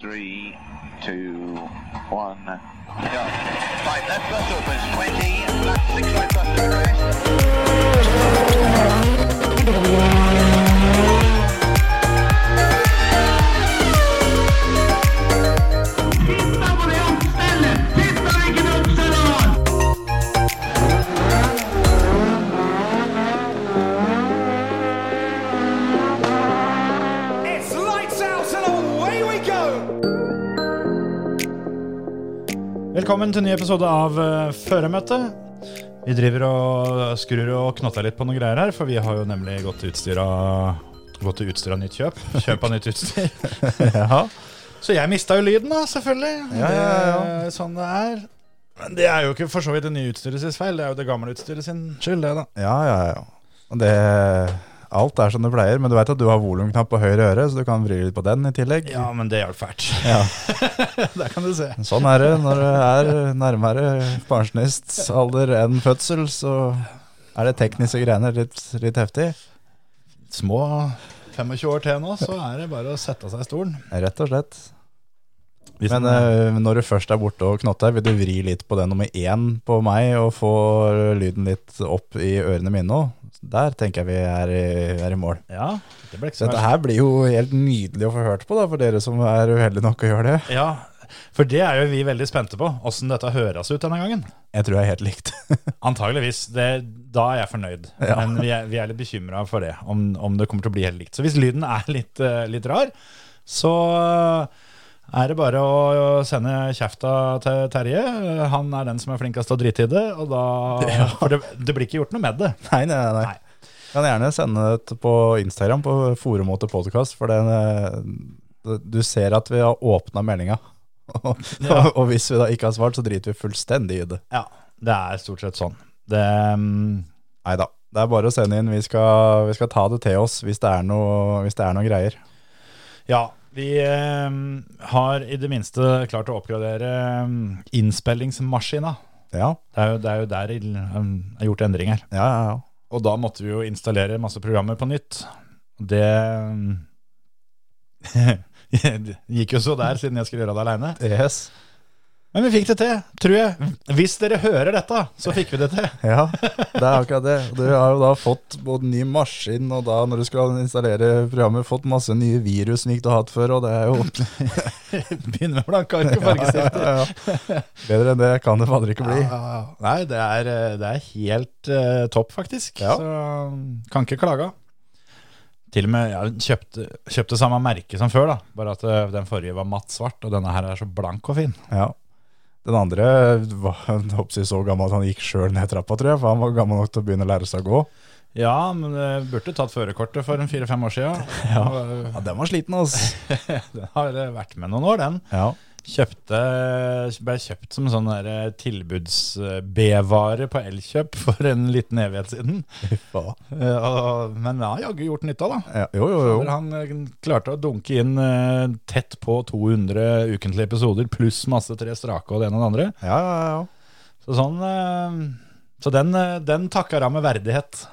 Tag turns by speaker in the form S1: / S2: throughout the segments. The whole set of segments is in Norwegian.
S1: Three, two, one, go. Right, left bus opens 20, left six right bus to crest.
S2: It's lights out and away we go!
S3: Velkommen til en ny episode av eh, Føremøtet. Vi driver og skrur og knotter litt på noen greier her, for vi har jo nemlig gått til utstyr av, gått til utstyr av nytt kjøp. Kjøp av nytt utstyr. ja. Så jeg mista jo lyden, da, selvfølgelig.
S4: Ja, ja, ja.
S3: Det er Sånn det er. Men det er jo ikke for så vidt det nye utstyret sin feil, det er jo det gamle utstyret sin skyld, det, da.
S4: Ja, ja, ja. Og Det, alt er som det pleier, men du veit at du har volumknapp på høyre øre, så du kan vri litt på den i tillegg.
S3: Ja, men det hjalp fælt.
S4: Ja.
S3: Der kan du se.
S4: Sånn er det når du er nærmere pensjonistsalder enn fødsel, så er det tekniske greiene litt, litt heftig.
S3: Små 25 år til nå, så er det bare å sette seg i stolen.
S4: Rett og slett.
S3: Hvis
S4: Men
S3: den-
S4: eh, når du først er borte og knotter, vil du vri litt på den nummer én på meg og få lyden litt opp i ørene mine òg? Der tenker jeg vi er i, er i mål.
S3: ja, det ble ikke
S4: Så
S3: så
S4: dette her blir jo helt nydelig å få hørt på, da, for dere som er uheldige nok å gjøre det.
S3: Ja, for det er jo vi veldig spente på, åssen dette høres ut denne gangen.
S4: Jeg tror jeg er helt likt.
S3: Antageligvis. Det, da er jeg fornøyd.
S4: Ja.
S3: Men vi er, vi er litt bekymra for det, om, om det kommer til å bli helt likt. Så hvis lyden er litt, eh, litt rar, så eh, er det bare å sende kjefta til Terje. Han er den som er flinkest til å drite i det, og da For det, det blir ikke gjort noe med det.
S4: Nei, nei, nei.
S3: Nei.
S4: Kan gjerne sende det på Instagram på Forumåte podkast, for den, eh, du ser at vi har åpna meldinga. Og,
S3: Ja.
S4: og hvis vi da ikke har svart, så driter vi fullstendig i det.
S3: Ja, det er stort sett sånn. Det mm,
S4: Nei da. Det er bare å sende inn. Vi skal, vi skal ta det til oss hvis det er noe, hvis det er noe greier.
S3: Ja, vi eh, har i det minste klart å oppgradere eh, innspillingsmaskina.
S4: Ja,
S3: Det er jo, det er jo der det er gjort endringer.
S4: ja, ja. ja.
S3: Og da måtte vi jo installere masse programmer på nytt. Det eh, gikk jo så der, siden jeg skulle gjøre det aleine.
S4: Yes.
S3: Men vi fikk det til, tror jeg. Hvis dere hører dette, så fikk vi det til.
S4: Ja, det er akkurat det. Du har jo da fått både ny maskin, og da når du skal installere programmet, fått masse nye virus som ikke du har hatt før, og det er jo
S3: Begynner med blanke ark og fargestifter.
S4: Ja, ja, ja. Bedre enn det kan det fader ikke bli.
S3: Ja, ja, ja. Nei, det er, eh, det er helt eh, topp, faktisk.
S4: Ja.
S3: Så um, kan ikke klage. Til og med jeg kjøpte, kjøpte samme merke som før, da. bare at eh, den forrige var matt svart, og denne her er så blank og fin.
S4: Ja. Den andre var jeg håper å si, så gammel at han gikk sjøl ned trappa, tror jeg. For han var gammel nok til å begynne å lære seg å gå.
S3: Ja, men eh, burde tatt førerkortet for en fire-fem år sia.
S4: Ja, Den var sliten, altså.
S3: Den har eh, vært med noen år, den.
S4: Ja.
S3: Kjøpte, ble kjøpt som sånn der, eh, tilbuds-B-vare på Elkjøp for en liten evighet siden. Eh, og- Men jeg har jaggu gjort nytta, da.
S4: Ja, jo, jo,
S3: Hvor
S4: jo.
S3: han eh, klarte å dunke inn eh, tett på 200 ukentlige episoder, pluss masse tre strake og det ene og det andre.
S4: Ja, ja, ja.
S3: Så, sånn, eh, så den, eh, den takker han med verdighet.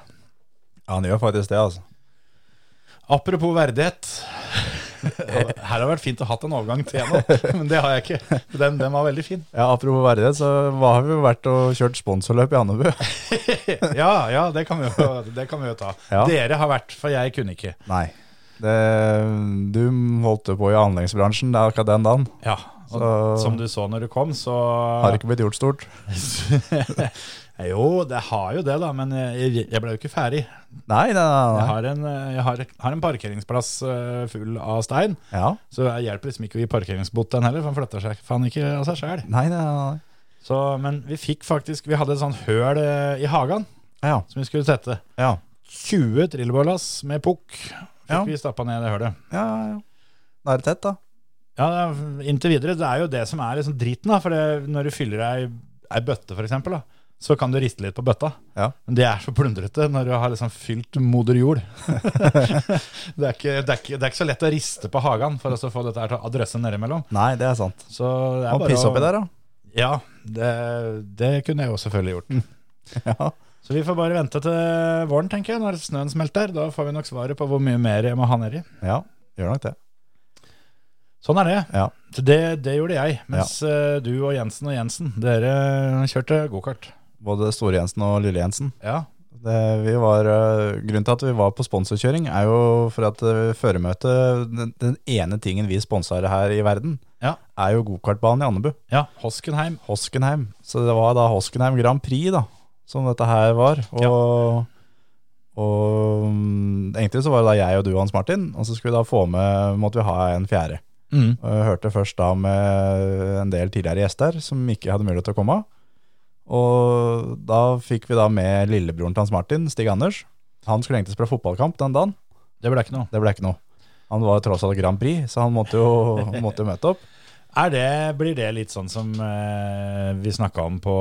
S4: Ja, Han gjør faktisk det, altså.
S3: Apropos verdighet. Her har det vært fint å hatt en overgang til en nå, men det har jeg ikke. Den, den var veldig fin.
S4: Ja, Apropos verdighet, så hva har vi jo vært og kjørt sponsorløp i Andebu?
S3: Ja, ja, det kan vi jo, det kan vi jo ta.
S4: Ja.
S3: Dere har vært, for jeg kunne ikke.
S4: Nei. Det, du holdt jo på i anleggsbransjen det er akkurat den dagen.
S3: Ja, og
S4: Så-
S3: Som du så når du kom, så
S4: Har ikke blitt gjort stort.
S3: Jo, det har jo det, da, men jeg, jeg ble jo ikke ferdig.
S4: Nei, nei,
S3: Jeg
S4: nei. nei.
S3: har en, eh, jeg har, har en parkeringsplass eh, full av stein,
S4: Ja.
S3: så jeg hjelper liksom ikke å gi parkeringsbot den heller, for han flytter seg faen ikke av seg sjøl.
S4: Nei, nei, nei.
S3: Men vi fikk faktisk Vi hadde et sånt høl eh, i hagen
S4: Ja.
S3: som vi skulle tette.
S4: Ja.
S3: 20 trillebårlass med pukk fikk
S4: Ja.
S3: vi stappa ned i det hølet.
S4: ja, ja, ja. Da er det tett, da.
S3: Ja, det er- Inntil videre. Det er jo det som er liksom driten, da. For det, når du fyller ei, ei bøtte, for eksempel, da, så kan du riste litt på bøtta.
S4: Ja.
S3: Men det er så plundrete når du har liksom fylt moder jord. det, er ikke, det, er ikke, det er ikke så lett å riste på hagen for å få dette her til å adresse nedimellom.
S4: Nei, det er sant.
S3: Så det er
S4: Og
S3: bare
S4: pisse
S3: å-
S4: oppi der, da.
S3: Ja, det, det kunne jeg jo selvfølgelig
S4: Mm.
S3: gjort.
S4: Ja.
S3: Så vi får bare vente til våren, tenker jeg, når snøen smelter. Da får vi nok svaret på hvor mye mer jeg må ha nedi.
S4: ja, gjør nok det. Sånn er det.
S3: Ja.
S4: Så Det, det gjorde jeg. Mens eh, du og Jensen og Jensen, dere kjørte gokart.
S3: Både Store-Jensen og Lille-Jensen.
S4: Ja.
S3: Det, vi var, øh, grunnen til at vi var på sponsorkjøring, er jo for at øh, føremøtet den, den ene tingen vi sponser her i verden,
S4: Ja.
S3: er jo gokartbanen i Andebu.
S4: ja. Hoskenheim.
S3: Hoskenheim. Så det var da Hoskenheim Grand Prix, da, som dette her var. Og, og mm, egentlig så var det da jeg og du, Hans Martin, og så skulle vi da få med Måtte vi ha en fjerde.
S4: Mm.
S3: Og jeg hørte først da med en del tidligere gjester som ikke hadde mulighet til å komme. Og da fikk vi da med lillebroren til Hans Martin, Stig Anders. Han skulle egentlig spille fotballkamp den dagen.
S4: Det ble ikke noe.
S3: Det ble ikke noe. Han var tross alt Grand Prix, så han måtte jo, måtte jo møte opp.
S4: Er det, blir det litt sånn som eh, vi snakka om på,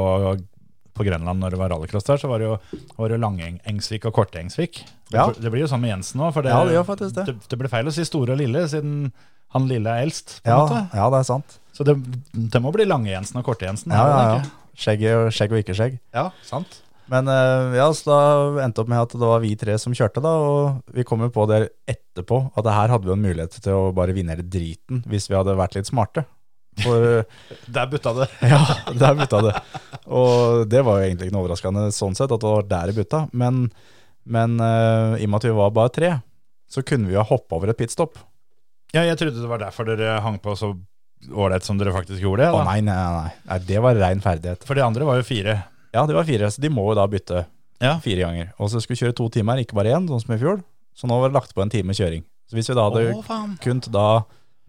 S4: på Grenland når det var rallycross der, så var det jo, var det jo Langengsvik og Kortengsvik. Det,
S3: Ja.
S4: det blir jo sånn med Jensen nå, for det,
S3: Ja, det gjør faktisk det.
S4: det, det ble feil å si store og lille, siden han lille er eldst, på en
S3: Ja,
S4: måte.
S3: ja, det er sant.
S4: Så det, det må bli Lange-Jensen og Korte-Jensen.
S3: Ja,
S4: er det
S3: ja,
S4: det
S3: ja.
S4: ikke?
S3: Skjegg, og- skjegg og ikke skjegg.
S4: ja, sant.
S3: Men eh, ja, så da endte opp med at det var vi tre som kjørte da, og vi kom jo på det etterpå, at det her hadde vi jo en mulighet til å bare vinne hele driten, hvis vi hadde vært litt smarte. For
S4: Der butta det.
S3: Ja, der butta det. Og det var jo egentlig ikke noe overraskende sånn sett, at det var der det butta. Men, men eh, i og med at vi var bare tre, så kunne vi jo ha hoppa over et pitstop.
S4: Ja, jeg trodde det var derfor dere hang på så ålreit som dere faktisk gjorde.
S3: Å
S4: da.
S3: nei, nei, nei, nei. Det var rein ferdighet.
S4: For de andre var jo fire.
S3: Ja, det var fire, så de må jo da bytte
S4: Ja.
S3: fire ganger. Og så skulle vi kjøre to timer, ikke bare én, sånn som i fjor. Så nå var det lagt på en time kjøring. Så hvis vi da hadde
S4: faen.
S3: kunnet da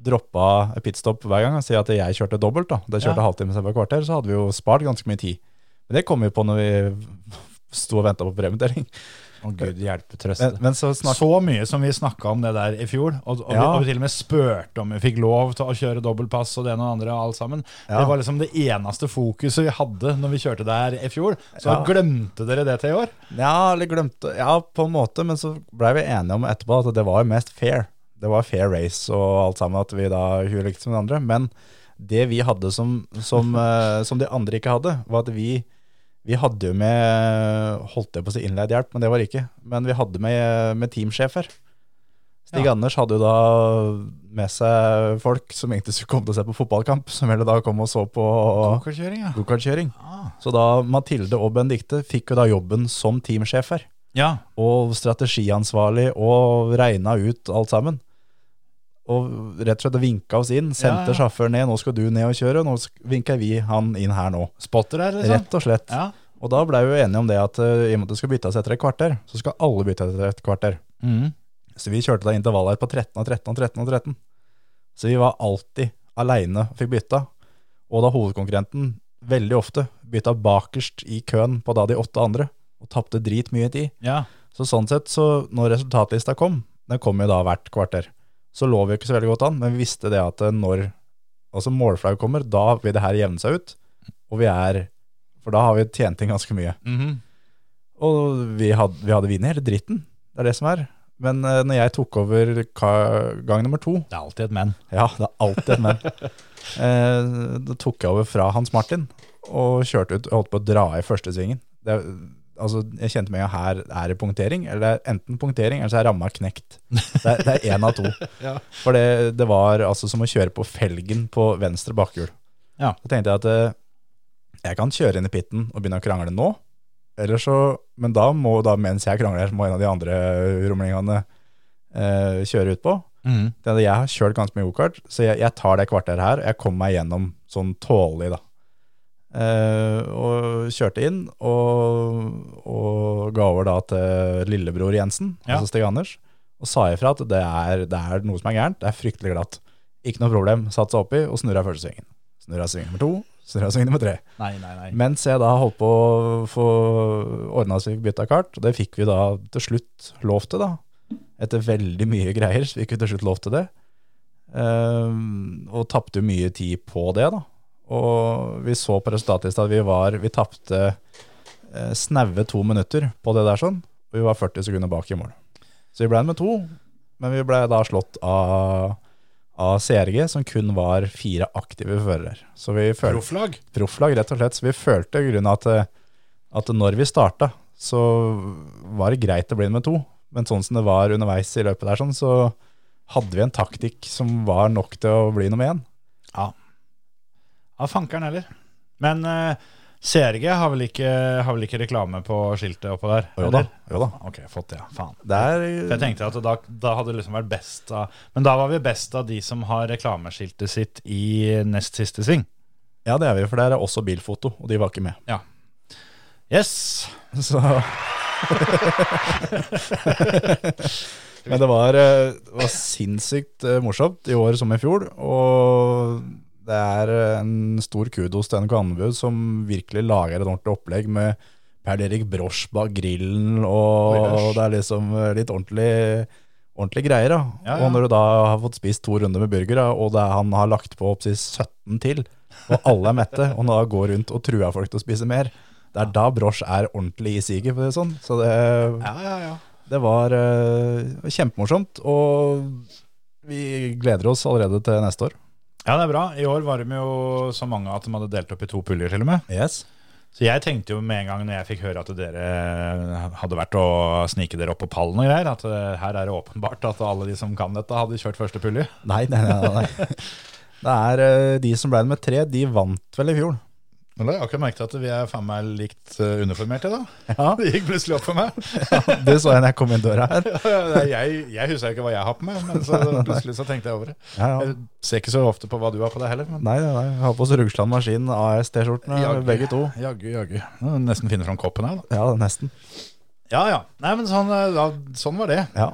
S3: droppa et pitstop hver gang og si at jeg kjørte dobbelt, da. Det kjørte
S4: Ja.
S3: halvtime istedenfor et kvarter, så hadde vi jo spart ganske mye tid. Men det kom vi på når vi sto og venta på premietering.
S4: Å gud hjelpe
S3: Men,
S4: trøste.
S3: men så snakker
S4: Så mye som vi snakka om det der i fjor, og, og,
S3: Ja.
S4: vi, og vi til og med spurte om vi fikk lov til å kjøre dobbeltpass og det ene og det andre og alt sammen.
S3: Ja.
S4: Det var liksom det eneste fokuset vi hadde når vi kjørte der i fjor. Så
S3: Ja.
S4: glemte dere det til i år.
S3: Ja, eller glemte Ja, på en måte, men så blei vi enige om etterpå at det var mest fair. Det var fair race og alt sammen, at vi da huet likte som de andre. Men det vi hadde som, som, eh, som de andre ikke hadde, var at vi vi hadde jo med holdt jeg på å si innleid hjelp, men det var det ikke. Men vi hadde med, med teamsjefer. Stig
S4: Ja.
S3: Anders hadde jo da med seg folk som egentlig skulle komme til å se på fotballkamp, som heller da kom og så på
S4: Pokerkjøring, ja.
S3: gokartkjøring.
S4: Ah.
S3: Så da Mathilde og Benedikte fikk jo da jobben som teamsjefer
S4: ja.
S3: og strategiansvarlig og regna ut alt sammen. Og rett og slett vinka oss inn,
S4: Ja,
S3: sendte
S4: ja.
S3: sjåføren ned. 'Nå skal du ned og kjøre', nå sk- vinker vi han inn her nå.
S4: Spotter her, liksom.
S3: Rett og slett.
S4: Ja.
S3: Og da blei vi jo enige om det at eh, i og med at det skal byttes etter et kvarter, så skal alle bytte etter et kvarter.
S4: Mhm.
S3: Så vi kjørte da intervall her på 13 og 13 og 13 og 13. Så vi var alltid aleine og fikk bytta. Og da hovedkonkurrenten veldig ofte bytta bakerst i køen på da de åtte andre, og tapte dritmye tid.
S4: ja.
S3: Så sånn sett, så når resultatlista kom, den kom jo da hvert kvarter, så lå vi jo ikke så veldig godt an, men vi visste det at eh, når altså målflag kommer, da vil det her jevne seg ut, og vi er, for da har vi tjent inn ganske mye.
S4: Mhm.
S3: Og vi hadde, vi hadde vinn i hele dritten, det er det som er. Men eh, når jeg tok over ka, gang nummer to,
S4: Det er alltid et men.
S3: ja, det er alltid et men, eh, da tok jeg over fra Hans Martin, og kjørte ut, og holdt på å dra i første svingen. Det, er- altså, jeg kjente meg jo her er det punktering, eller det er enten punktering, eller så er ramma knekt. Det er, det er en av to.
S4: Ja.
S3: For det, det var altså som å kjøre på felgen på venstre bakhjul.
S4: Ja.
S3: Da tenkte jeg at eh, jeg kan kjøre inn i pitten og begynne å krangle nå, eller så, men da må da, mens jeg krangler, må en av de andre rumlingene eh, kjøre utpå.
S4: Mhm.
S3: Det er det Jeg har kjørt ganske mye gokart, så jeg, jeg tar det kvarteret her, og jeg kommer meg gjennom sånn tålelig, da. Eh, og kjørte inn, og, og ga over da til eh, lillebror Jensen,
S4: Ja.
S3: altså Stig Anders, og sa ifra at det er, det er noe som er gærent, det er fryktelig glatt. Ikke noe problem, satt seg oppi og snurra første svingen. Snurra sving nummer to, snurra sving nummer tre.
S4: Nei, nei, nei.
S3: Mens jeg da holdt på å få ordna så vi fikk bytta kart, og det fikk vi da til slutt lov til, da. Etter veldig mye greier så fikk vi til slutt lov til det. Ehm, og tapte jo mye tid på det, da. Og vi så på resultatlista at vi var Vi tapte eh, snaue to minutter på det der sånn, og vi var 40 sekunder bak i mål. Så vi ble med to, men vi ble da slått av, av CRG, som kun var fire aktive førere. Så vi følte
S4: Profflag?
S3: profflag, rett og slett. Så vi følte i grunnen at, eh, at når vi starta, så var det greit å bli med to. Men sånn som det var underveis i løpet der, sånn, så
S4: hadde vi en taktikk som var nok til å bli nummer én.
S3: Ja, fankeren heller. Men eh, CRG har vel, ikke, har vel ikke reklame på skiltet oppå der?
S4: Jo da,
S3: eller?
S4: jo da.
S3: Ok, fått det, ja. faen.
S4: Det
S3: For jeg
S4: er,
S3: tenkte at da, da hadde det liksom vært best av Men da var vi best av de som har reklameskiltet sitt i nest siste sving.
S4: ja, det er vi, for der er også bilfoto, og de var ikke med.
S3: Yes!
S4: Så Men det var, eh, det var sinnssykt eh, morsomt i år som i fjor. Og det er eh, en stor kudos til NRK Andebu, som virkelig lager et ordentlig opplegg med Per Erik Brosch bak grillen, og,
S3: Oi, æsj.
S4: det er liksom eh, litt ordentlig, ordentlig greier. Da.
S3: Ja, ja.
S4: Og når du da har fått spist to runder med burger, da, og det er, han har lagt på opptil 17 til, og alle er mette, og da går rundt og truer folk til å spise mer. Det er da Brosch er ordentlig i siget, for å si det sånn. Så det,
S3: Ja, ja, ja.
S4: det var eh, kjempemorsomt, og vi gleder oss allerede til neste år.
S3: Ja, det er bra. I år var de jo så mange at de hadde delt opp i to puljer, til og med.
S4: Yes.
S3: Så jeg tenkte jo med en gang når jeg fikk høre at dere hadde vært og snike dere opp på pallen og greier, at eh, her er det åpenbart at alle de som kan dette, hadde kjørt første pulje.
S4: Nei, nei, nei. nei. Det er eh, de som ble nummer tre, de vant vel i fjor.
S3: Men da har jeg akkurat merket at vi er faen meg likt eh, uniformerte, da.
S4: Ja.
S3: Det gikk plutselig opp for meg.
S4: Det så jeg når jeg kom inn døra her.
S3: Jeg, jeg husker ikke hva jeg har på meg, men så plutselig så tenkte jeg over det.
S4: Ja, ja.
S3: Jeg ser ikke så ofte på hva du har på deg heller, men eh,
S4: Nei, nei, nei. Jeg har på oss Rugsland Maskin AS-T-skjortene, begge to.
S3: Jaggu, jaggu. Nå må jeg Nesten finne fram koppen her, da.
S4: Ja, nesten.
S3: Ja ja. Nei, men sånn, eh, da, sånn var det.
S4: Ja.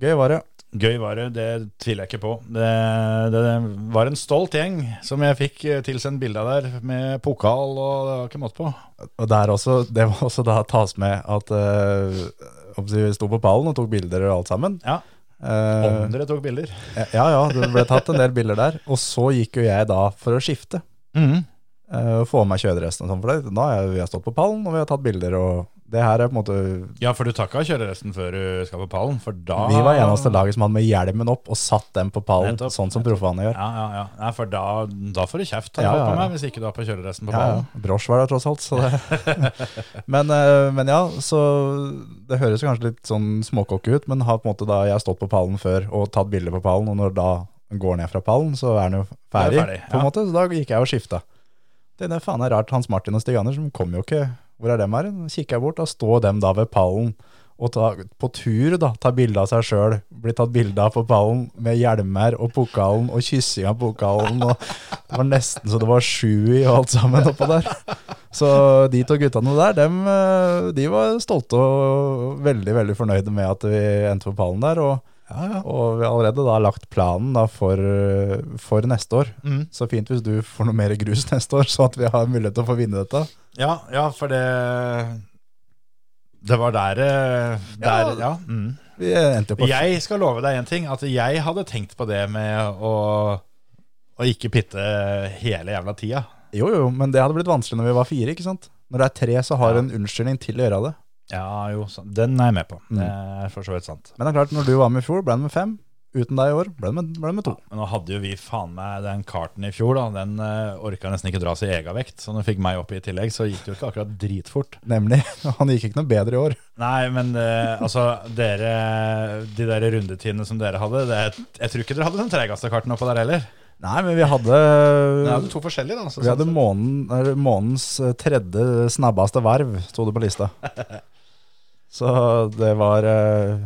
S4: Gøy var det.
S3: Gøy var det, det tviler jeg ikke på. Det, det, det var en stolt gjeng som jeg fikk eh, tilsendt bilde av der, med pokal og det var ikke måte på.
S4: Og der også, det må også da tas med at eh, om vi sto på pallen og tok bilder og alt sammen.
S3: Ja.
S4: Eh,
S3: Om dere tok bilder.
S4: Ja, ja, det ble tatt en del bilder der. Og så gikk jo jeg da for å skifte.
S3: Mhm.
S4: eh, Og få av meg kjøredressen og sånn for det. Nå har jeg, vi har stått på pallen, og vi har tatt bilder, og det her er på en måte
S3: Ja, for du takka kjøreresten før du skal på pallen, for da
S4: Vi var eneste laget som hadde med hjelmen opp og satt den på pallen,
S3: Ah. Nettopp,
S4: sånn som proffene gjør.
S3: Ja, ja, ja. Nei, for da, da får du kjeft har
S4: Ja, ja,
S3: jeg fått på
S4: ja.
S3: meg, hvis ikke du har på kjøreresten på
S4: Ja,
S3: pallen.
S4: ja. Brosj var der tross alt, så det men, eh, men ja, så det høres jo kanskje litt sånn småkokke ut, men har på en måte da jeg har stått på pallen før og tatt bilder på pallen, og når da den går ned fra pallen, så er den jo ferdig,
S3: Da er den ferdig,
S4: på en
S3: ja.
S4: måte, så da gikk jeg og skifta. Det er faen er rart, Hans Martin og Stig Andersen kom jo ikke, hvor er dem her? Nå Kikker jeg bort, da står dem da ved pallen, og ta, på tur da, ta bilder av seg selv, blir tatt bilder av på pallen med hjelmer og pokalen og kyssing av pokalen, og det var nesten så det var sju i og alt sammen oppå der. Så de to guttene der, dem, eh, de var stolte og veldig, veldig fornøyde med at vi endte på pallen der, og, og vi har allerede da lagt planen da for, eh, for neste år.
S3: Mhm.
S4: Så fint hvis du får noe mer grus neste år, så at vi har mulighet til å få vinne dette.
S3: Ja, ja, for det Det var der, eh, der
S4: Ja.
S3: ja. Mm.
S4: Vi endte jo på
S3: Jeg skal love deg en ting, at jeg hadde tenkt på det med å, å ikke pitte hele jævla tida.
S4: Jo, jo, men det hadde blitt vanskelig når vi var fire, ikke sant? Når det er tre, så har
S3: Ja.
S4: du en unnskyldning til å gjøre det.
S3: Ja, jo, sant. den er jeg med på.
S4: Mm.
S3: Det er for så vidt sant.
S4: Men det er klart, når du var med i fjor, ble det med fem. Uten deg i år, ble det med, ble det med to.
S3: Men nå hadde jo vi faen meg den karten i fjor, da. Den uh, orka nesten ikke dra sin egen vekt, så når du fikk meg opp i tillegg, så gikk det jo ikke akkurat dritfort.
S4: Nemlig. Han gikk ikke noe bedre i år.
S3: Nei, men eh, altså, dere De der rundetidene som dere hadde, det, jeg tror ikke dere hadde den treigeste karten oppå der heller.
S4: Nei, men vi hadde
S3: Dere hadde to forskjellige, da. Så,
S4: Vi hadde månen, eller månens eh, tredje snabbaste verv, sto det på lista. Så det var eh,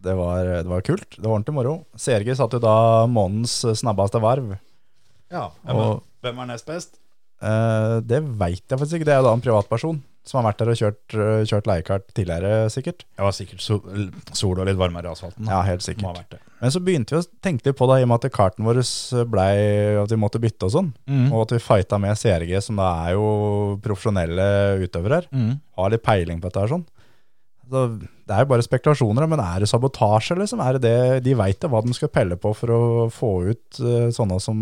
S4: det var, det var kult. Det var ordentlig moro. CRG satt jo da månens eh, snabbaste verv.
S3: ja, hvem,
S4: og-
S3: hvem er nest best?
S4: Eh, Det veit jeg faktisk ikke. Det er jo da en privatperson som har vært der og kjørt, eh, kjørt leiekart tidligere, sikkert.
S3: Jeg var sikkert sol, sol og litt varmere i asfalten. da.
S4: Ja, helt
S3: Må ha
S4: sikkert.
S3: vært det.
S4: Men så begynte vi å tenke litt på da, i og med at karten vår blei at vi måtte bytte og sånn,
S3: Mm.
S4: og at vi fighta med CRG, som da er jo profesjonelle utøvere her.
S3: Mm.
S4: har litt peiling på dette her sånn. Så det er jo bare spekulasjoner, men er det sabotasje, liksom? Er det det de veit hva de skal pelle på for å få ut eh, sånne som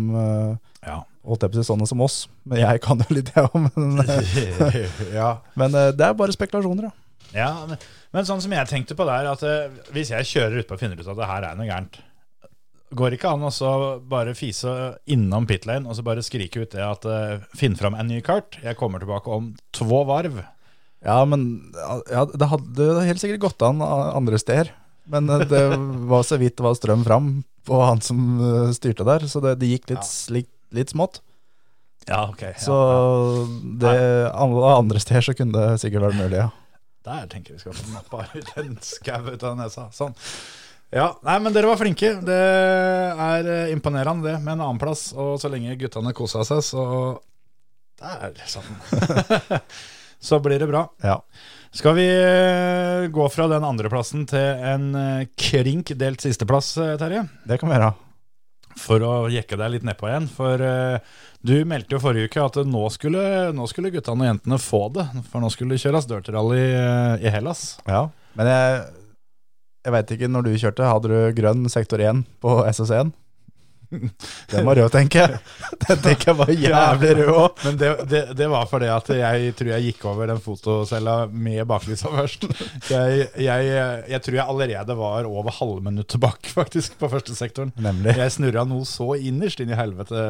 S4: eh,
S3: Ja.
S4: Holdt jeg på å si sånne som oss, men jeg kan jo litt, jeg òg. Men,
S3: ja.
S4: men eh, det er bare spekulasjoner, da.
S3: ja men, men sånn som jeg tenkte på der, at eh, hvis jeg kjører utpå og finner ut at det her er noe gærent, går det ikke an å så bare fise innom pit lane og så bare skrike ut det at eh, finn fram en ny kart, jeg kommer tilbake om två varv.
S4: Ja, men ja, det hadde helt sikkert gått an a- eh, andre steder. Men eh, det var så vidt det var strøm fram på han som eh, styrte der, så det, det gikk litt, slik, litt smått.
S3: Ja, ok. Ja,
S4: Så det, alle andre steder så kunne det sikkert vært mulig, ja.
S3: Der tenker jeg vi skal få nappa ut en skau ut av nesa. Sånn. Ja, nei, men dere var flinke. Det er eh, imponerende, det, med en annenplass. Og så lenge guttene kosa seg, så Der, sånn. så blir det bra.
S4: ja.
S3: Skal vi eh, gå fra den andreplassen til en eh, krink delt sisteplass, eh, Terje?
S4: Det kan vi gjøre.
S3: For å jekke deg litt nedpå igjen. For eh, du meldte jo forrige uke at nå skulle, nå skulle guttene og jentene få det. For nå skulle det kjøres dirtyrally eh, i Hellas.
S4: Ja. Men jeg, jeg veit ikke, når du kjørte, hadde du grønn sektor 1 på SS1? Den var rød, tenker jeg. Den tenker jeg var jævlig rød òg.
S3: Men det, det, det var fordi at jeg tror jeg gikk over den fotocella med baklysa først. Jeg, jeg, jeg tror jeg allerede var over halvminutt tilbake, faktisk, på første sektoren.
S4: Nemlig.
S3: Jeg snurra noe så innerst inn i helvete.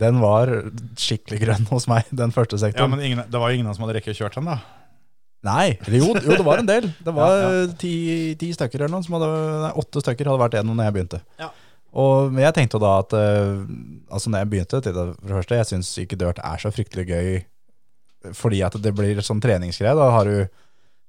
S4: Den var skikkelig grønn hos meg, den første
S3: Ja,
S4: sektoren.
S3: men ingen, Det var jo ingen som hadde rekket å kjørt den, da.
S4: Nei, eller jo, jo, det var en del. Det var
S3: Ja,
S4: Ti, ti stykker eller noe, som hadde, nei, åtte stykker hadde vært gjennom når jeg begynte.
S3: Ja.
S4: Og men jeg tenkte jo da at eh, altså når jeg begynte, til det, for det første, jeg syns ikke dirt er så fryktelig gøy fordi at det blir sånn treningsgreie. Da har du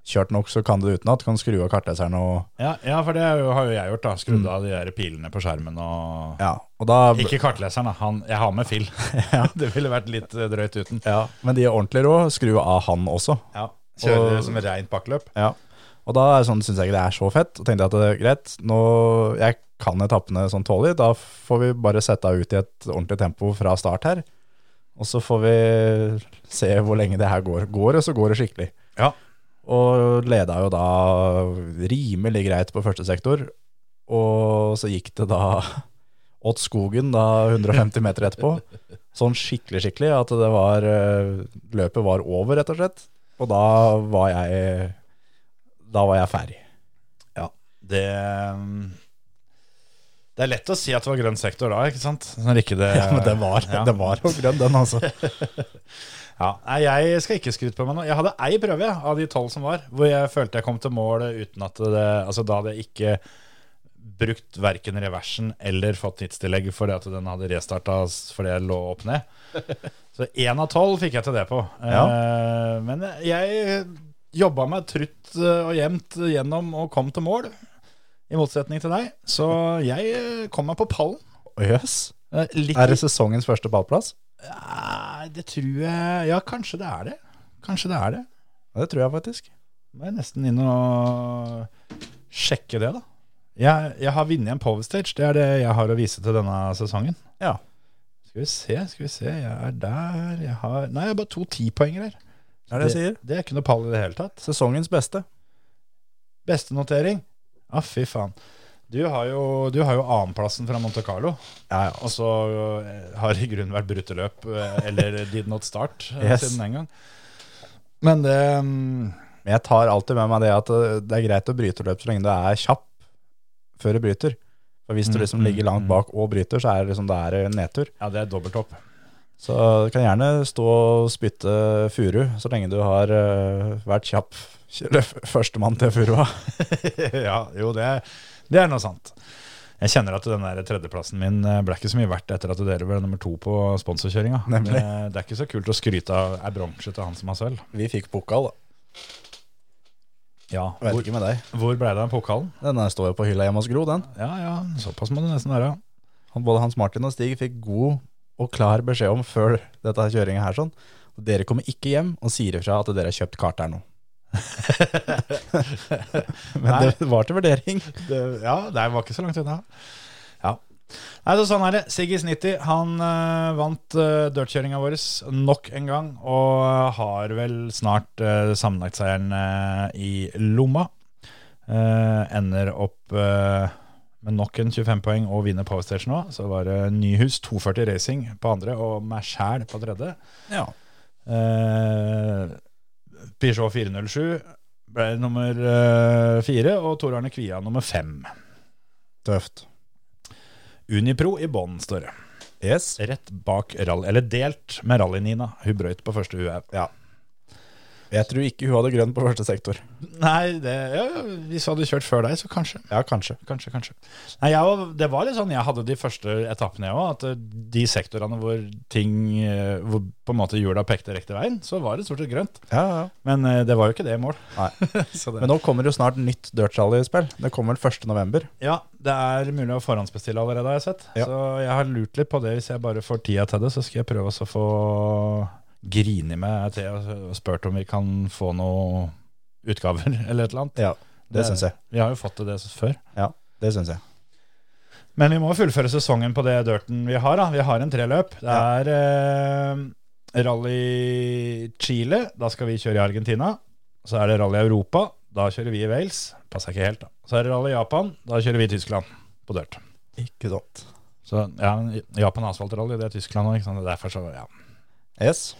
S4: kjørt nok, så kan du det utenat. Kan skru av kartleseren og
S3: Ja, ja for det er jo- har jo jeg gjort. da Skrudd av de der pilene på skjermen og
S4: Mm. Ja. Og da,
S3: Ikke kartleseren, da. Han, jeg har med Phil. ja, det ville vært litt eh, drøyt uten.
S4: ja, men de er ordentlige råd, skru av han også.
S3: Ja, Kjører
S4: Og-
S3: som et reint bakkeløp.
S4: Ja. Og da er det sånn, syns jeg ikke det er så fett. Og tenkte jeg at det er greit, nå, jeg kan etappene sånn tålelig. Da får vi bare sette henne ut i et ordentlig tempo fra start her. Og så får vi se hvor lenge det her går. Går det, så går det skikkelig.
S3: Ja.
S4: Og leda jo da rimelig greit på første sektor. Og så gikk det da åt skogen da 150 meter etterpå. Sånn skikkelig, skikkelig at det var eh, Løpet var over, rett og slett. Og da var jeg Da var jeg ferdig.
S3: Ja, det mm, Det er lett å si at det var grønn sektor da, ikke sant? Når ikke det
S4: Ja, men den var,
S3: Ja.
S4: den var jo grønn, den, altså.
S3: Ja. Nei, jeg skal ikke skryte på meg nå. Jeg hadde ei prøve jeg, av de tolv som var, hvor jeg følte jeg kom til mål uten at det Altså, da hadde jeg ikke brukt verken reversen eller fått tidstillegg fordi at den hadde restarta fordi jeg lå opp ned. Så én av tolv fikk jeg til det på. Eh, men jeg jobba meg trutt eh, og jevnt gjennom og kom til mål, i motsetning til deg. Så jeg eh, kom meg på pallen.
S4: Å, Jøss.
S3: Eh, Litt
S4: Er det sesongens første ballplass?
S3: Nei, det tror jeg Ja, kanskje det er det. Kanskje det er det.
S4: Ja, Det tror jeg faktisk.
S3: Må jeg nesten inn og sjekke det, da. Jeg, jeg har vunnet en Power Stage. Det er det jeg har å vise til denne sesongen.
S4: Ja.
S3: Skal vi se, skal vi se. Jeg er der. Jeg har Nei, jeg har bare to tipoenger her.
S4: Det er det jeg sier.
S3: Det er ikke noe pall i det hele tatt.
S4: Sesongens beste.
S3: Beste notering? Ja, fy faen. Du har jo, du har jo annenplassen fra Monte Carlo.
S4: Ja, ja.
S3: Og så eh, har det i grunnen vært brutteløp, eh, eller did not start, eh,
S4: Yes.
S3: siden den gang. Men det mm,
S4: Men jeg tar alltid med meg det at eh, det er greit å bryte løp så lenge du er kjapp før du bryter. For hvis du
S3: Mm,
S4: liksom
S3: mm,
S4: ligger langt
S3: mm.
S4: bak og bryter, så er det liksom det er en nedtur.
S3: Ja, det er dobbelt opp.
S4: Så du kan gjerne stå og spytte furu så lenge du har eh, vært kjapp. Eller f- Førstemann til furua.
S3: ja, jo, det, det er noe sant. Jeg kjenner at den der tredjeplassen min eh, ble ikke så mye verdt etter at dere ble nummer to på sponsorkjøringa.
S4: Nemlig.
S3: Det, det er ikke så kult å skryte av ei bronse til han som har sølv.
S4: Vi fikk pokal, da.
S3: Ja,
S4: Vet
S3: hvor,
S4: ikke med deg.
S3: hvor ble det av pokalen?
S4: Den der står jo på hylla hjemme hos Gro, den.
S3: Ja, ja, såpass må det nesten være.
S4: Han, både Hans Martin og Stig fikk god og klar beskjed om før dette kjøringa her sånn. Og dere kommer ikke hjem og sier ifra at dere har kjøpt kart her nå. Men det var til vurdering.
S3: det, ja, det var ikke så langt unna. Ja. Nei, så sånn er det. Siggis 90 han eh, vant uh, dirtkjøringa vår nok en gang, og eh, har vel snart uh, sammenlagtseieren eh, i lomma. Eh, ender opp eh, med nok en 25 poeng og vinner Powerstation òg. Så var det Nyhus 240 Racing på andre og meg sjæl på tredje.
S4: Ja.
S3: Eh, Peugeot 407 ble nummer eh, fire, og Tor Arne Kvia nummer fem.
S4: Tøft.
S3: Unipro i bånn, står det.
S4: Yes.
S3: Rett bak rally, eller delt med Rally-Nina. Hun brøyt på første UAU.
S4: Ja. Jeg tror ikke hun hadde grønn på første sektor.
S3: Nei, det, ja, hvis du hadde kjørt før deg, så kanskje.
S4: Ja, kanskje.
S3: Kanskje, kanskje. Nei, jeg, var- det var litt sånn, jeg hadde de første etappene jeg òg, at eh, de sektorene hvor ting eh, Hvor på en måte hjula pekte riktig veien, så var det stort sett grønt.
S4: Ja, ja.
S3: Men eh, det var jo ikke det i mål.
S4: Nei.
S3: så det,
S4: Men nå kommer jo snart nytt Dirt Rally-spill. Det kommer vel 1. november.
S3: ja, det er mulig å forhåndsbestille allerede, har jeg sett.
S4: Ja.
S3: Så jeg har lurt litt på det. Hvis jeg bare får tida til det, så skal jeg prøve også å få grini meg til og spurt om vi kan få noe utgaver eller et eller annet.
S4: Ja, det syns jeg.
S3: Vi har jo fått til det før.
S4: Ja, det syns jeg.
S3: Men vi må fullføre sesongen på det dirten vi har. da. Vi har en treløp. Det er eh, rally Chile. Da skal vi kjøre i Argentina. Så er det rally Europa. Da kjører vi i Wales. Passer ikke helt, da. Så er det rally Japan. Da kjører vi i Tyskland på dirt.
S4: Ikke sant.
S3: Så ja, Japan er asfaltrally, det er Tyskland òg. Derfor så, ja.
S4: Yes.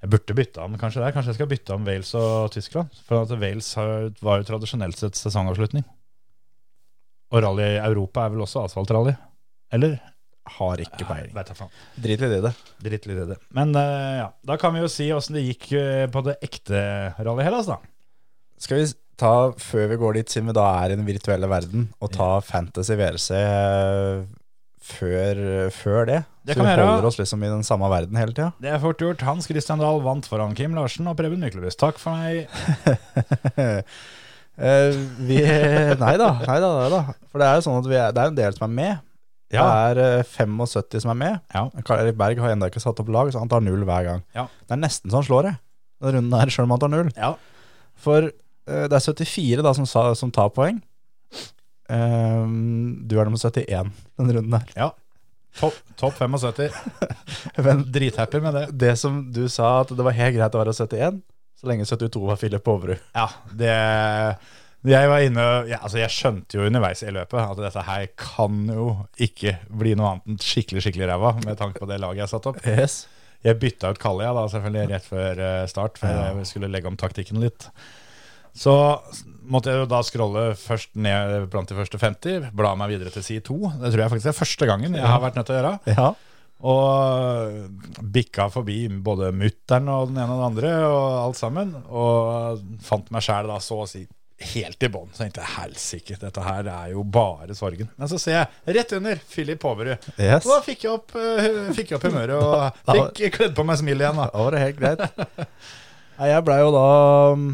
S3: Jeg burde bytte om kanskje der. Kanskje jeg skal bytte om Wales og Tyskland. For at Wales har, var jo tradisjonelt sett sesongavslutning. Og rally Europa er vel også asfaltrally? Eller?
S4: Har ikke peiling.
S3: Vet jeg faen.
S4: Drit litt i det.
S3: Dritt litt i det. Men eh, ja, da kan vi jo si åssen det gikk eh, på det ekte Rally Hellas, da.
S4: Skal vi ta, før vi går dit, siden vi da er i den virtuelle verden, og ta Fantasy VRC eh, før, før det?
S3: Det
S4: Så
S3: kan
S4: vi
S3: vi gjøre.
S4: holder oss liksom i den samme verden hele tida?
S3: Det er fort gjort. Hans Christian Dahl vant foran Kim Larsen og Preben Myklebust. Takk for meg.
S4: Eh, vi, nei da, nei da, nei da. For det er jo sånn at vi er, det er en del som er med. Det er eh, 75 som er med.
S3: Ja.
S4: Karl Erik Berg har ennå ikke satt opp lag, så han tar null hver gang.
S3: Ja.
S4: Det er nesten så han slår det, den runden her, sjøl om han tar null.
S3: Ja.
S4: For eh, det er 74 da som, sa- som tar poeng. Ehm, du er nummer 71 denne runden her.
S3: ja. Topp topp 75.
S4: Men
S3: Drithappy med det.
S4: det som du sa, at det var helt greit å være 71, så lenge 72 var Filip Overud.
S3: Ja, det Jeg var inne ja, Altså, jeg skjønte jo underveis i løpet at dette her kan jo ikke bli noe annet enn skikkelig, skikkelig ræva, med tanke på det laget jeg satte opp.
S4: Yes.
S3: Jeg bytta ut Kalle, ja, da, selvfølgelig, rett før eh, start, for jeg skulle legge om taktikken litt. Så s- måtte jeg jo da scrolle først ned blant de første 50, bla meg videre til side 2. Det tror jeg faktisk er første gangen jeg har vært nødt til å gjøre.
S4: Ja.
S3: Og bikka forbi både mutter'n og den ene og den andre og alt sammen. Og fant meg sjæl da så å si helt i bånn. Så tenkte jeg helsike, dette her er jo bare sorgen. Men så ser jeg rett under Philip Håverud.
S4: Yes.
S3: Og da fikk jeg opp, eh, fikk jeg opp humøret og fikk kledd på meg smilet igjen. da
S4: Da var det helt greit. Nei, jeg blei jo da mm,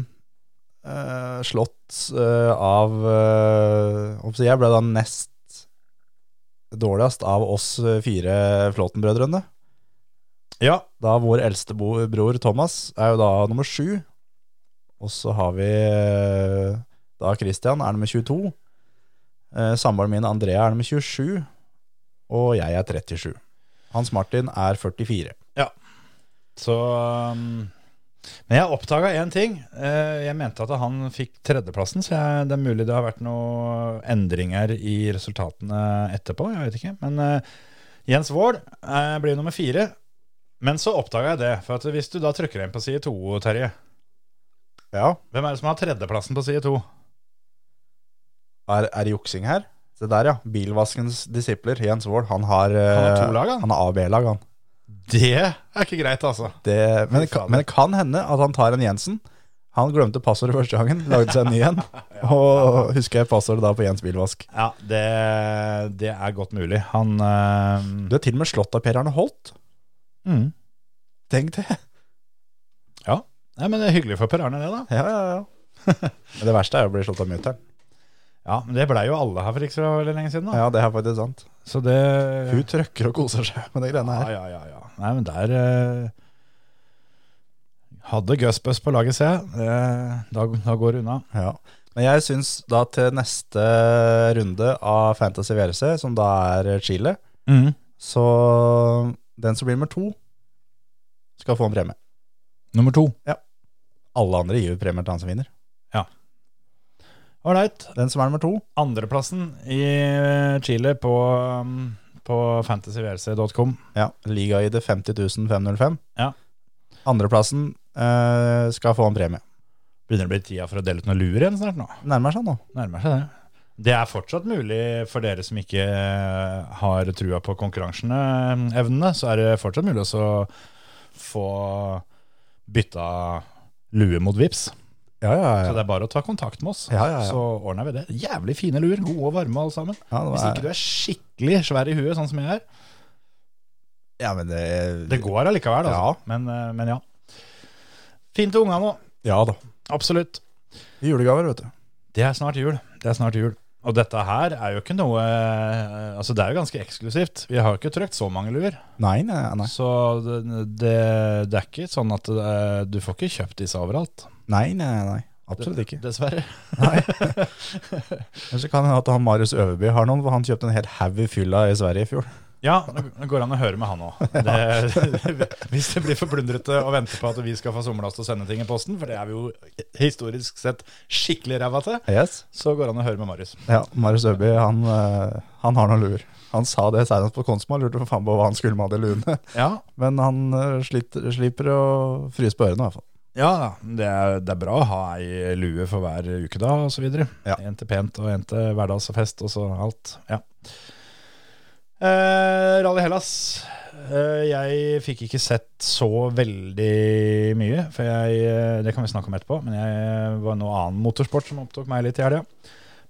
S4: eh, slått eh, av eh, hva skal jeg si, Jeg blei da nest dårligst av oss eh, fire Flåten-brødrene.
S3: Ja,
S4: Da vår eldste bo- bror Thomas er jo da nummer sju. Og så har vi eh, da Christian er nummer 22. Eh, Samboeren min Andrea er nummer 27. Og jeg er 37. Hans Martin er 44.
S3: Så um, Men jeg oppdaga én ting. Eh, Jeg mente at han fikk tredjeplassen, så jeg, det er mulig det har vært noen endringer i resultatene etterpå. Jeg vet ikke. Men eh, Jens Wold eh, blir nummer fire. Men så oppdaga jeg det. For at hvis du da trykker inn på side to, Terje
S4: Ja.
S3: Hvem er det som har tredjeplassen på side to?
S4: Er, er det juksing her? Se der, ja. Bilvaskens disipler, Jens Wold, han har eh,
S3: Han har to lag, han.
S4: Han har A-B-lag, han.
S3: Det er ikke greit, altså.
S4: Det, men, det
S3: fader.
S4: kan, men det kan hende at han tar en Jensen. Han glemte passordet første gangen, lagde seg en ny en. Og husker jeg passordet da på Jens bilvask.
S3: Ja, det, det er godt mulig. Han eh,
S4: Du er til og med slått av Per Arne Holt.
S3: mm.
S4: Tenk det.
S3: Ja. Nei, men det er hyggelig for Per Arne, det, da.
S4: Ja, ja, ja. Men det verste er jo å bli slått av mutter'n.
S3: Ja, Men det blei jo alle her for ikke så veldig lenge siden. da
S4: Ja, det er faktisk sant.
S3: Så det
S4: Hun trøkker og koser seg med de greiene
S3: Ja,
S4: her.
S3: ja, ja, ja. Nei, men der eh, hadde Gusbus på laget, ser jeg. Eh, da, da går det unna.
S4: Ja. Men jeg syns da til neste runde av Fantasy VRC, som da er Chile,
S3: Mhm.
S4: Så den som blir nummer to, skal få en premie.
S3: Nummer to.
S4: Alle andre gir jo premier til han som vinner.
S3: Ålreit.
S4: Den som er nummer to,
S3: Andreplassen i eh, Chile på, um, på fantasyvrc.com.
S4: ja, ligaid 50 505.
S3: Ja.
S4: Andreplassen eh, skal få en premie.
S3: Begynner det å bli tida for å dele ut noen luer igjen snart nå?
S4: Nærmer seg nå.
S3: Nærmer seg det. Det er fortsatt mulig for dere som ikke eh, har trua på konkurransene, eh, evnene, så er det fortsatt mulig også å få bytta lue mot vips.
S4: Ja, ja,
S3: Så
S4: ja.
S3: det er bare å ta kontakt med oss,
S4: Ja, ja, ja.
S3: så ordner vi det. Jævlig fine luer, gode og varme alle sammen.
S4: Ja, det
S3: Hvis
S4: var-
S3: ikke du er skikkelig svær i huet, sånn som jeg er.
S4: ja, men det,
S3: Det går allikevel, altså. Men, eh, men ja. Fint til ungene òg.
S4: Ja da.
S3: Absolutt.
S4: Julegaver, vet du.
S3: Det er snart jul. Det er snart jul. Og dette her er jo ikke noe eh, Altså, det er jo ganske eksklusivt. Vi har jo ikke trykt så mange luer.
S4: Nei, nei, nei.
S3: Så det, det, det er ikke sånn at eh, du får ikke kjøpt disse overalt.
S4: Nei, nei, nei. Absolutt ikke.
S3: Dessverre.
S4: Nei. Men så kan det hende at han Marius Øverby har noen, for han kjøpte en hel haug i fylla i Sverige i fjor.
S3: Ja, det går an å høre med han òg. Hvis det blir for plundrete å vente på at vi skal få somla oss til å sende ting i posten, for det er vi jo historisk sett skikkelig ræva til,
S4: Yes.
S3: så går det an å høre med Marius.
S4: Ja, Marius Øverby, han, eh, han har noen luer. Han sa det senest på Konsma, lurte for faen på hva han skulle med alle luene.
S3: Ja,
S4: Men han eh, sliter, slipper å fryse på ørene, i hvert fall.
S3: ja da. det, er, det er bra å ha ei lue for hver uke da, og så videre.
S4: Ja.
S3: En til pent, og en til hverdags og fest, og så alt. Ja. Eh, Rally Hellas. Eh, jeg fikk ikke sett så veldig mye, for jeg eh, Det kan vi snakke om etterpå, men jeg var noe annen motorsport som opptok meg litt i helga.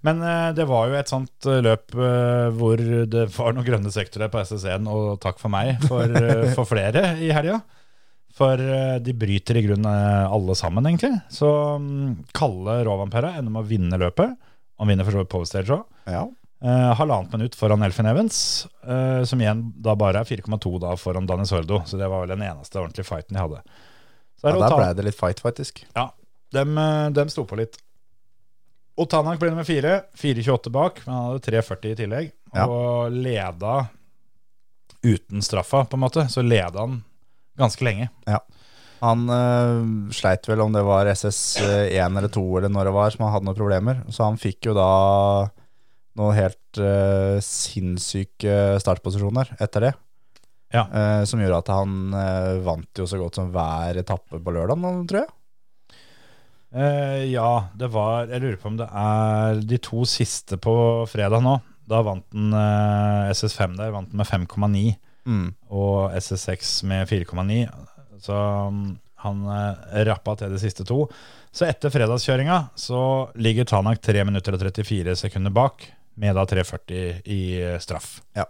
S3: Men eh, det var jo et sånt eh, løp eh, hvor det var noen grønne sektorer på SS1, og takk for meg for, eh, for flere i helga. For eh, de bryter i grunnen eh, alle sammen, egentlig. Så mm, Kalle Rovanpera ender med å vinne løpet. Han vinner for så vidt pole stage òg.
S4: Ja.
S3: Eh, halvannet minutt foran Elfin Evans, eh, som igjen da bare er 4,2 da foran Danny Sordo. Så det var vel den eneste ordentlige fighten de hadde. Så
S4: ja,
S3: er det
S4: der
S3: Otan-
S4: ble det litt fight, faktisk.
S3: ja, dem, eh, dem sto på litt. Otanak ble nummer fire. 4,28 bak, men han hadde 3,40 i tillegg.
S4: Ja.
S3: Og leda uten straffa, på en måte. Så leda han ganske lenge.
S4: Han eh, sleit vel om det var SS1 eller 2 eller når det var, som han hadde noen problemer. Så han fikk jo da noen helt eh, sinnssyke startposisjoner etter det.
S3: Ja.
S4: Eh, som gjorde at han eh, vant jo så godt som hver etappe på lørdagen, tror jeg.
S3: Eh, ja, det var Jeg lurer på om det er de to siste på fredag nå. Da vant han eh, SS5 der, vant han med 5,9.
S4: Mm.
S3: og SS6 med 4,9. Så mm, han eh, rappa til de siste to. Så etter fredagskjøringa så ligger Tanak 3 minutter og 34 sekunder bak, med da 3,40 i eh, straff.
S4: Ja.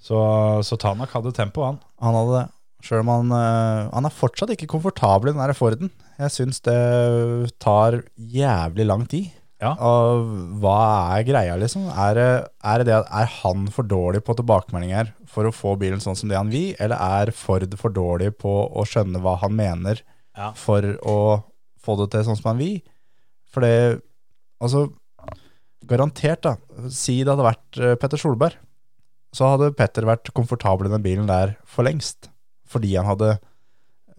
S3: Så, så Tanak hadde tempo, han.
S4: Han hadde det. Sjøl om han, eh, han er fortsatt ikke komfortabel i den der Forden. Jeg syns det tar jævlig lang tid.
S3: Ja.
S4: Og hva er greia, liksom? Er det, er det det at er han for dårlig på tilbakemeldinger for å få bilen sånn som det han vil, eller er Ford for dårlig på å skjønne hva han mener
S3: Ja.
S4: for å få det til sånn som han vil? For det Altså, garantert, da. Si det hadde vært eh, Petter Solberg så hadde Petter vært komfortabel i den bilen der for lengst. Fordi han hadde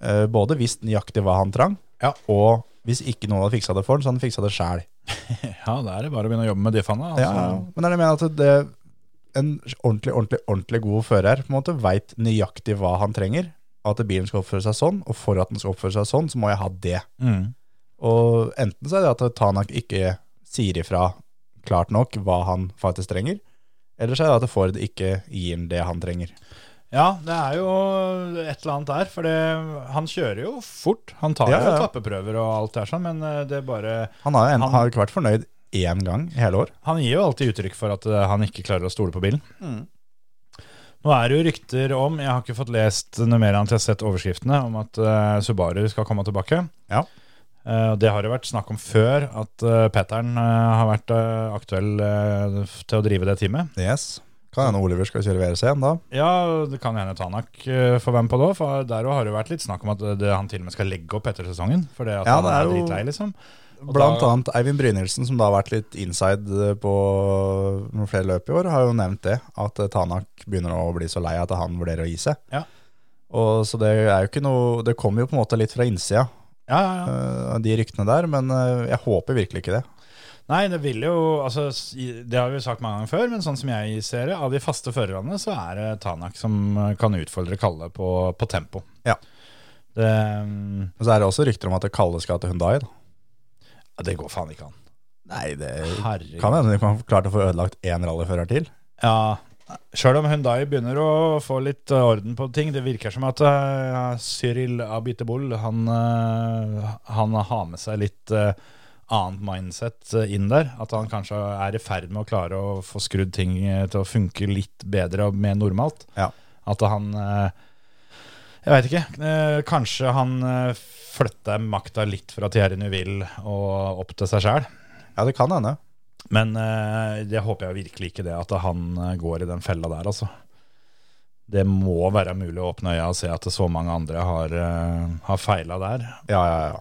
S4: eh, både visst nøyaktig hva han trang,
S3: Ja.
S4: og hvis ikke noen hadde fiksa det for han, så hadde han fiksa det sjæl.
S3: Ja, da er det bare å begynne å jobbe med diffene. Altså.
S4: Ja, men er det mener at det, en ordentlig, ordentlig, ordentlig god fører på en måte veit nøyaktig hva han trenger. At bilen skal oppføre seg sånn, og for at den skal oppføre seg sånn, så må jeg ha det.
S3: Mm.
S4: Og enten så er det at Tanak ikke sier ifra klart nok hva han faktisk trenger, eller så er det at Ford ikke gir ham det han trenger.
S3: ja, det er jo et eller annet der. For det, han kjører jo fort. Han tar
S4: Ja,
S3: jo
S4: ja.
S3: tappeprøver og alt det her sånn, men eh, det er bare
S4: Han har jo en,
S3: Han-
S4: har jo ikke vært fornøyd én gang i hele år.
S3: Han gir jo alltid uttrykk for at eh, han ikke klarer å stole på bilen.
S4: Mm.
S3: Nå er det jo rykter om, jeg har ikke fått lest noe mer enn at jeg har sett overskriftene, om at eh, Subaru skal komme tilbake.
S4: Ja.
S3: Eh, og det har det vært snakk om før, at uh, Petteren eh, har vært eh, aktuell eh, f- til å drive det teamet.
S4: Yes. Kan hende Oliver skal kjøre VRC igjen da.
S3: Ja, det kan hende Tanak eh, får være med på det òg, for der også har det jo vært litt snakk om at eh, det, han til og med skal legge opp etter sesongen. For det at
S4: Ja,
S3: han
S4: det
S3: er,
S4: er jo-
S3: dritlei, liksom. Og
S4: Blant
S3: da-
S4: annet Eivind Brynildsen, som da har vært litt inside eh, på noen flere løp i år, har jo nevnt det, at eh, Tanak begynner å bli så lei at han vurderer å gi seg.
S3: Ja.
S4: Og så det er jo ikke noe Det kommer jo på en måte litt fra innsida,
S3: Ja, ja, ja.
S4: eh, de ryktene der, men eh, jeg håper virkelig ikke det.
S3: Nei, det vil jo altså, s- i- Det har vi jo sagt mange ganger før, men sånn som jeg ser det, av de faste førerne, så er det Tanak som eh, kan utfordre Kalle på, på tempo.
S4: Ja.
S3: Det, mm,
S4: Men så er det også rykter om at Kalle skal til Hundai.
S3: ja, det går faen ikke an.
S4: Nei, det
S3: Herregud.
S4: kan hende de kan klare å få ødelagt én rallyfører til.
S3: Ja, Sjøl om Hyundai begynner å få litt eh, orden på ting, det virker som at eh, Cyril Abitebol han, eh, han har med seg litt eh, annet mindset eh, inn der. At han kanskje er i ferd med å klare å få skrudd ting eh, til å funke litt bedre og mer normalt.
S4: Ja.
S3: At han eh, Jeg veit ikke. eh, Kanskje han eh, flytter makta litt fra Thierry Neuville og opp til seg sjæl.
S4: Ja, det kan hende.
S3: Men eh, det håper jeg virkelig ikke det, at han eh, går i den fella der, altså. Det må være mulig å åpne øya og se at så mange andre har, eh, har feila der.
S4: Ja, ja, ja.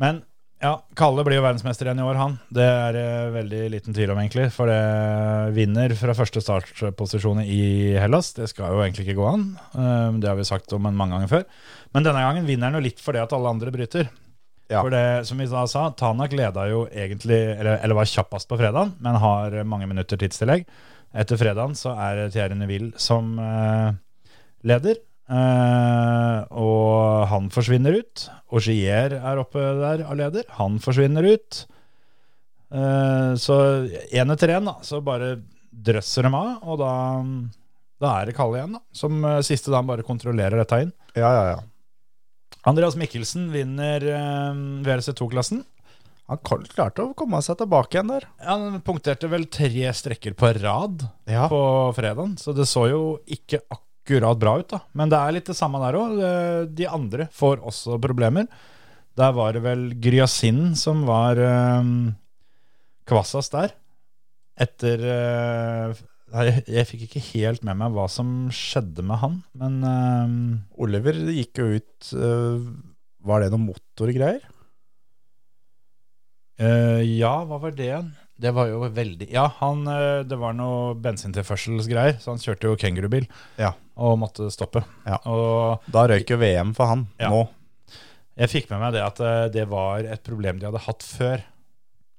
S3: Men ja, Kalle blir jo verdensmester igjen i år, han. Det er eh, veldig liten tvil om, egentlig. For det vinner fra første startposisjon i Hellas. Det skal jo egentlig ikke gå an. Eh, Det har vi sagt om en mange ganger før. Men denne gangen vinner han jo litt fordi at alle andre bryter.
S4: Ja.
S3: For det, som vi da sa, Tanak leda jo egentlig, eller, eller var kjappest på fredagen, men har mange minutter tidstillegg. Etter fredagen så er det Thierry Neville som eh, leder. Eh, og han forsvinner ut. Augier er oppe der og leder. Han forsvinner ut. Eh, så én etter én, da, så bare drøsser dem av. Og da, da er det Kalle igjen, da. Som eh, siste da han bare kontrollerer dette inn.
S4: ja, ja, ja.
S3: Andreas Mikkelsen vinner eh, VRC2-klassen.
S4: Han kal- klarte å komme seg tilbake igjen der.
S3: Han punkterte vel tre strekker på rad
S4: Ja.
S3: på fredagen, så det så jo ikke akkurat bra ut, da. Men det er litt det samme der òg. De andre får også problemer. Der var det vel Gryasin som var eh, kvassast der. Etter eh, Nei, jeg, jeg fikk ikke helt med meg hva som skjedde med han, men eh,
S4: Oliver gikk jo ut eh, Var det noen motorgreier?
S3: Eh, ja, hva var det igjen? Det var jo veldig Ja, han, eh, det var noe bensintilførselsgreier, så han kjørte jo kengurubil
S4: Ja.
S3: og måtte stoppe.
S4: Ja.
S3: Og
S4: Da røyk jo VM for han
S3: Ja.
S4: nå.
S3: jeg fikk med meg det at eh, det var et problem de hadde hatt før.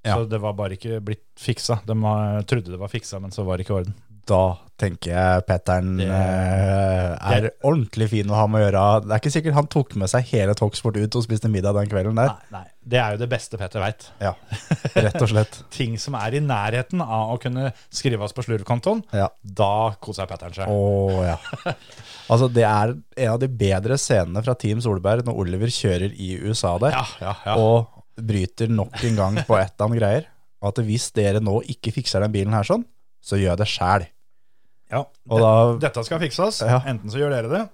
S4: Ja.
S3: Så det var bare ikke blitt fiksa. De var, trodde det var fiksa, men så var det ikke i orden.
S4: Da tenker jeg Petteren
S3: Det-
S4: eh, er
S3: det-
S4: ordentlig fin å ha med å gjøre. Det er ikke sikkert han tok med seg hele Talksport ut og spiste middag den kvelden der.
S3: Nei, nei. Det er jo det beste Petter veit.
S4: Ja, Rett og slett.
S3: Ting som er i nærheten av å kunne skrive oss på slurvkontoen,
S4: Ja.
S3: da koser Petteren seg.
S4: Å ja. Altså, det er en av de bedre scenene fra Team Solberg når Oliver kjører i USA der
S3: Ja, ja, ja.
S4: og bryter nok en gang på et eller annet greier. At hvis dere nå ikke fikser den bilen her sånn, så gjør jeg det sjæl.
S3: ja.
S4: Og da,
S3: Dette skal fikses.
S4: Ja.
S3: Enten så gjør dere det,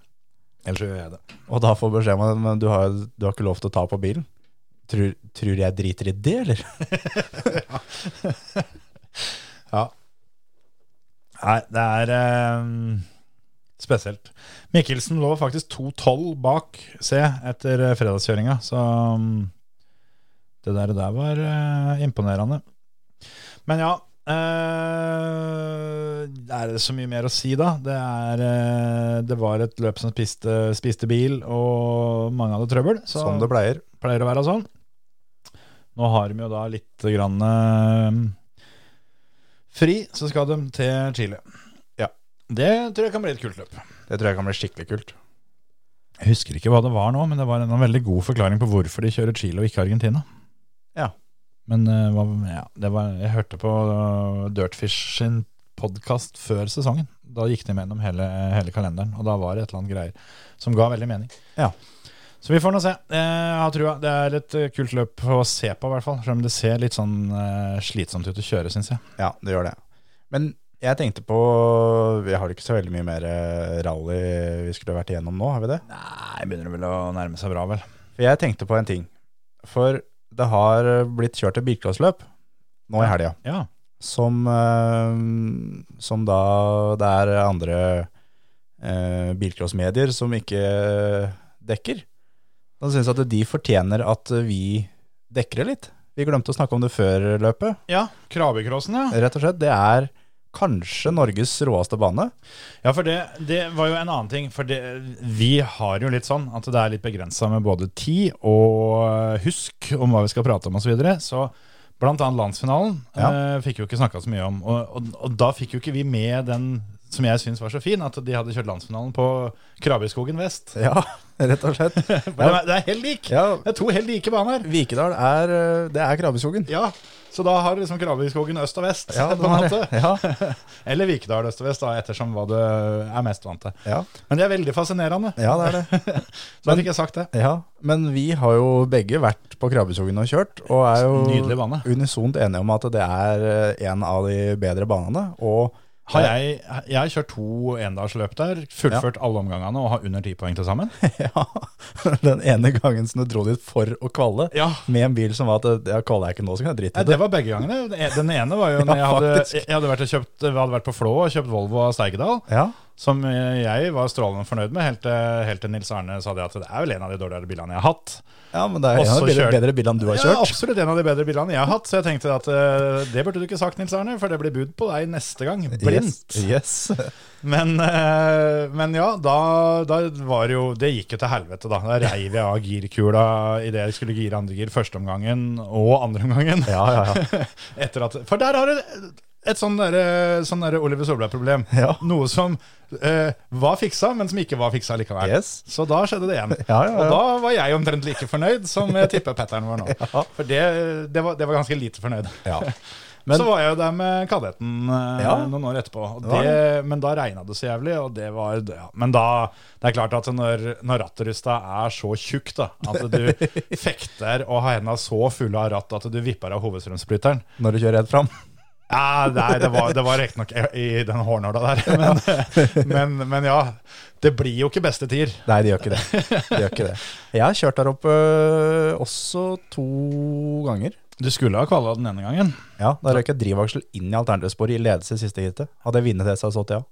S3: eller så gjør jeg det.
S4: og da får beskjed om at men du har, du har ikke lov til å ta på bilen. Tror, tror jeg driter i det, eller?
S3: Nei, det er eh, spesielt. Mikkelsen lå faktisk 2-12 bak C etter eh, fredagskjøringa, så mm, det der, der var eh, imponerende. Men ja eh, Er det så mye mer å si, da? Det, er, eh, det var et løp som spiste, spiste bil, og mange hadde trøbbel. Så
S4: Som det pleier.
S3: pleier å være sånn. Nå har de jo da litt grann, eh, fri, så skal de til Chile.
S4: Ja.
S3: Det tror jeg kan bli et kult løp.
S4: Det tror jeg kan bli skikkelig kult.
S3: Jeg husker ikke hva det var nå, men det var en veldig god forklaring på hvorfor de kjører Chile og ikke Argentina.
S4: Ja.
S3: Men eh, hva- ja, det var, jeg hørte på eh, Dirtfish sin podkast før sesongen. Da gikk de gjennom hele, hele kalenderen, og da var det et eller annet greier som ga veldig mening.
S4: Ja.
S3: Så vi får nå se. Eh, Jeg har trua. Det er et eh, kult løp å se på, i hvert fall. Selv om det ser litt sånn eh, slitsomt ut å kjøre, syns jeg.
S4: Ja, det gjør det. Men jeg tenkte på Vi har ikke så veldig mye mer eh, rally vi skulle vært igjennom nå, har vi det?
S3: Nei, begynner vel å nærme seg bra, vel.
S4: For jeg tenkte på en ting. For det har eh, blitt kjørt et bilcrossløp nå i helga,
S3: Ja.
S4: som, eh, som da det er andre eh, bilcrossmedier som ikke dekker. Da syns jeg at de fortjener at vi dekker det litt. Vi glemte å snakke om det før løpet.
S3: ja. Krabbekrossen, ja.
S4: Rett og slett, det er kanskje Norges råeste bane.
S3: Ja, for det, det var jo en annen ting. For det, vi har jo litt sånn at det er litt begrensa med både tid og eh, husk om hva vi skal prate om osv. Så, videre. så blant annet landsfinalen
S4: Ja.
S3: eh, fikk jo ikke snakka så mye om. Og, og, og da fikk jo ikke vi med den som jeg syns var så fin, at de hadde kjørt landsfinalen på Krabbøyskogen vest.
S4: Ja, rett og slett.
S3: Det er, det er helt lik!
S4: Ja.
S3: Det er to helt like baner.
S4: Vikedal er, eh, det er Krabbeskogen.
S3: Ja, Så da har du liksom Krabbøyskogen øst og vest,
S4: Ja,
S3: på en måte.
S4: Ja,
S3: Eller Vikedal øst og vest, da, ettersom hva du er mest vant til.
S4: ja,
S3: Men de er veldig fascinerende.
S4: ja, det er det.
S3: Så da fikk jeg sagt det.
S4: Ja, men vi har jo begge vært på Krabbeskogen og kjørt, og er
S3: Nydelig
S4: jo
S3: bane.
S4: unisont enige om at det er eh, en av de bedre banene. Og
S3: Har jeg, jeg har kjørt to endagsløp der, fullført alle omgangene og har under ti poeng til sammen.
S4: ja, den ene gangen som du dro dit for å kvalle,
S3: Ja.
S4: med en bil som var at eh, ja, kvaller jeg ikke nå, så kan jeg drite
S3: Nei,
S4: i
S3: det
S4: det.
S3: var begge gangene. Den ene var jo når jeg
S4: Ja,
S3: hadde,
S4: faktisk.
S3: jeg hadde, vært, og kjøpt, jeg hadde vært på Flå og kjøpt Volvo av Steigedal,
S4: Ja,
S3: som jeg var strålende fornøyd med, helt til, helt til Nils Arne sa det at det er vel en av de dårligere bilene jeg har hatt.
S4: ja, men det er en
S3: Også
S4: av de bedre,
S3: kjørt.
S4: bedre bilene du har
S3: Ja,
S4: kjørt.
S3: absolutt en av de bedre bilene jeg har hatt, så jeg tenkte at eh, det burde du ikke sagt, Nils Arne, for det blir bud på deg neste gang. Blindt.
S4: Yes, yes.
S3: Men, eh, men ja, da, da var det jo Det gikk jo til helvete, da. Da reiv jeg av girkula idet jeg skulle gire andre gir første omgangen og andre omgangen.
S4: Ja, ja, ja.
S3: Etter at, for der har du et sånn derre sånn derre Oliver Solberg-problem.
S4: Ja.
S3: Noe som eh, var fiksa, men som ikke var fiksa likevel.
S4: Yes.
S3: Så da skjedde det igjen.
S4: Ja, ja, ja.
S3: Og da var jeg omtrent like fornøyd som jeg tipper Pattern var nå. For det, det, var, det var ganske lite fornøyd.
S4: Ja. Men-
S3: så var jeg jo der med kadetten eh,
S4: Ja.
S3: noen år etterpå. Og
S4: var
S3: det, men da regna det så jævlig, og det var ja. Men da Det er klart at når, når rattrusta er så tjukk, da, at du fekter og har henda så fulle av ratt at du vipper av hovedstrømsbryteren
S4: Når du kjører rett fram.
S3: ja, nei, det var, det var riktignok i i den hårnåla der, men, men, men ja. Det blir jo ikke beste tier.
S4: Nei, de gjør ikke det. De gjør ikke det. Jeg har kjørt der oppe også to ganger.
S3: Du skulle ha kvala den ene gangen.
S4: Ja, Da røyk jeg drivaksel inn i alternativsporet i ledelse i siste heatet. Hadde jeg vunnet det, så hadde jeg stått,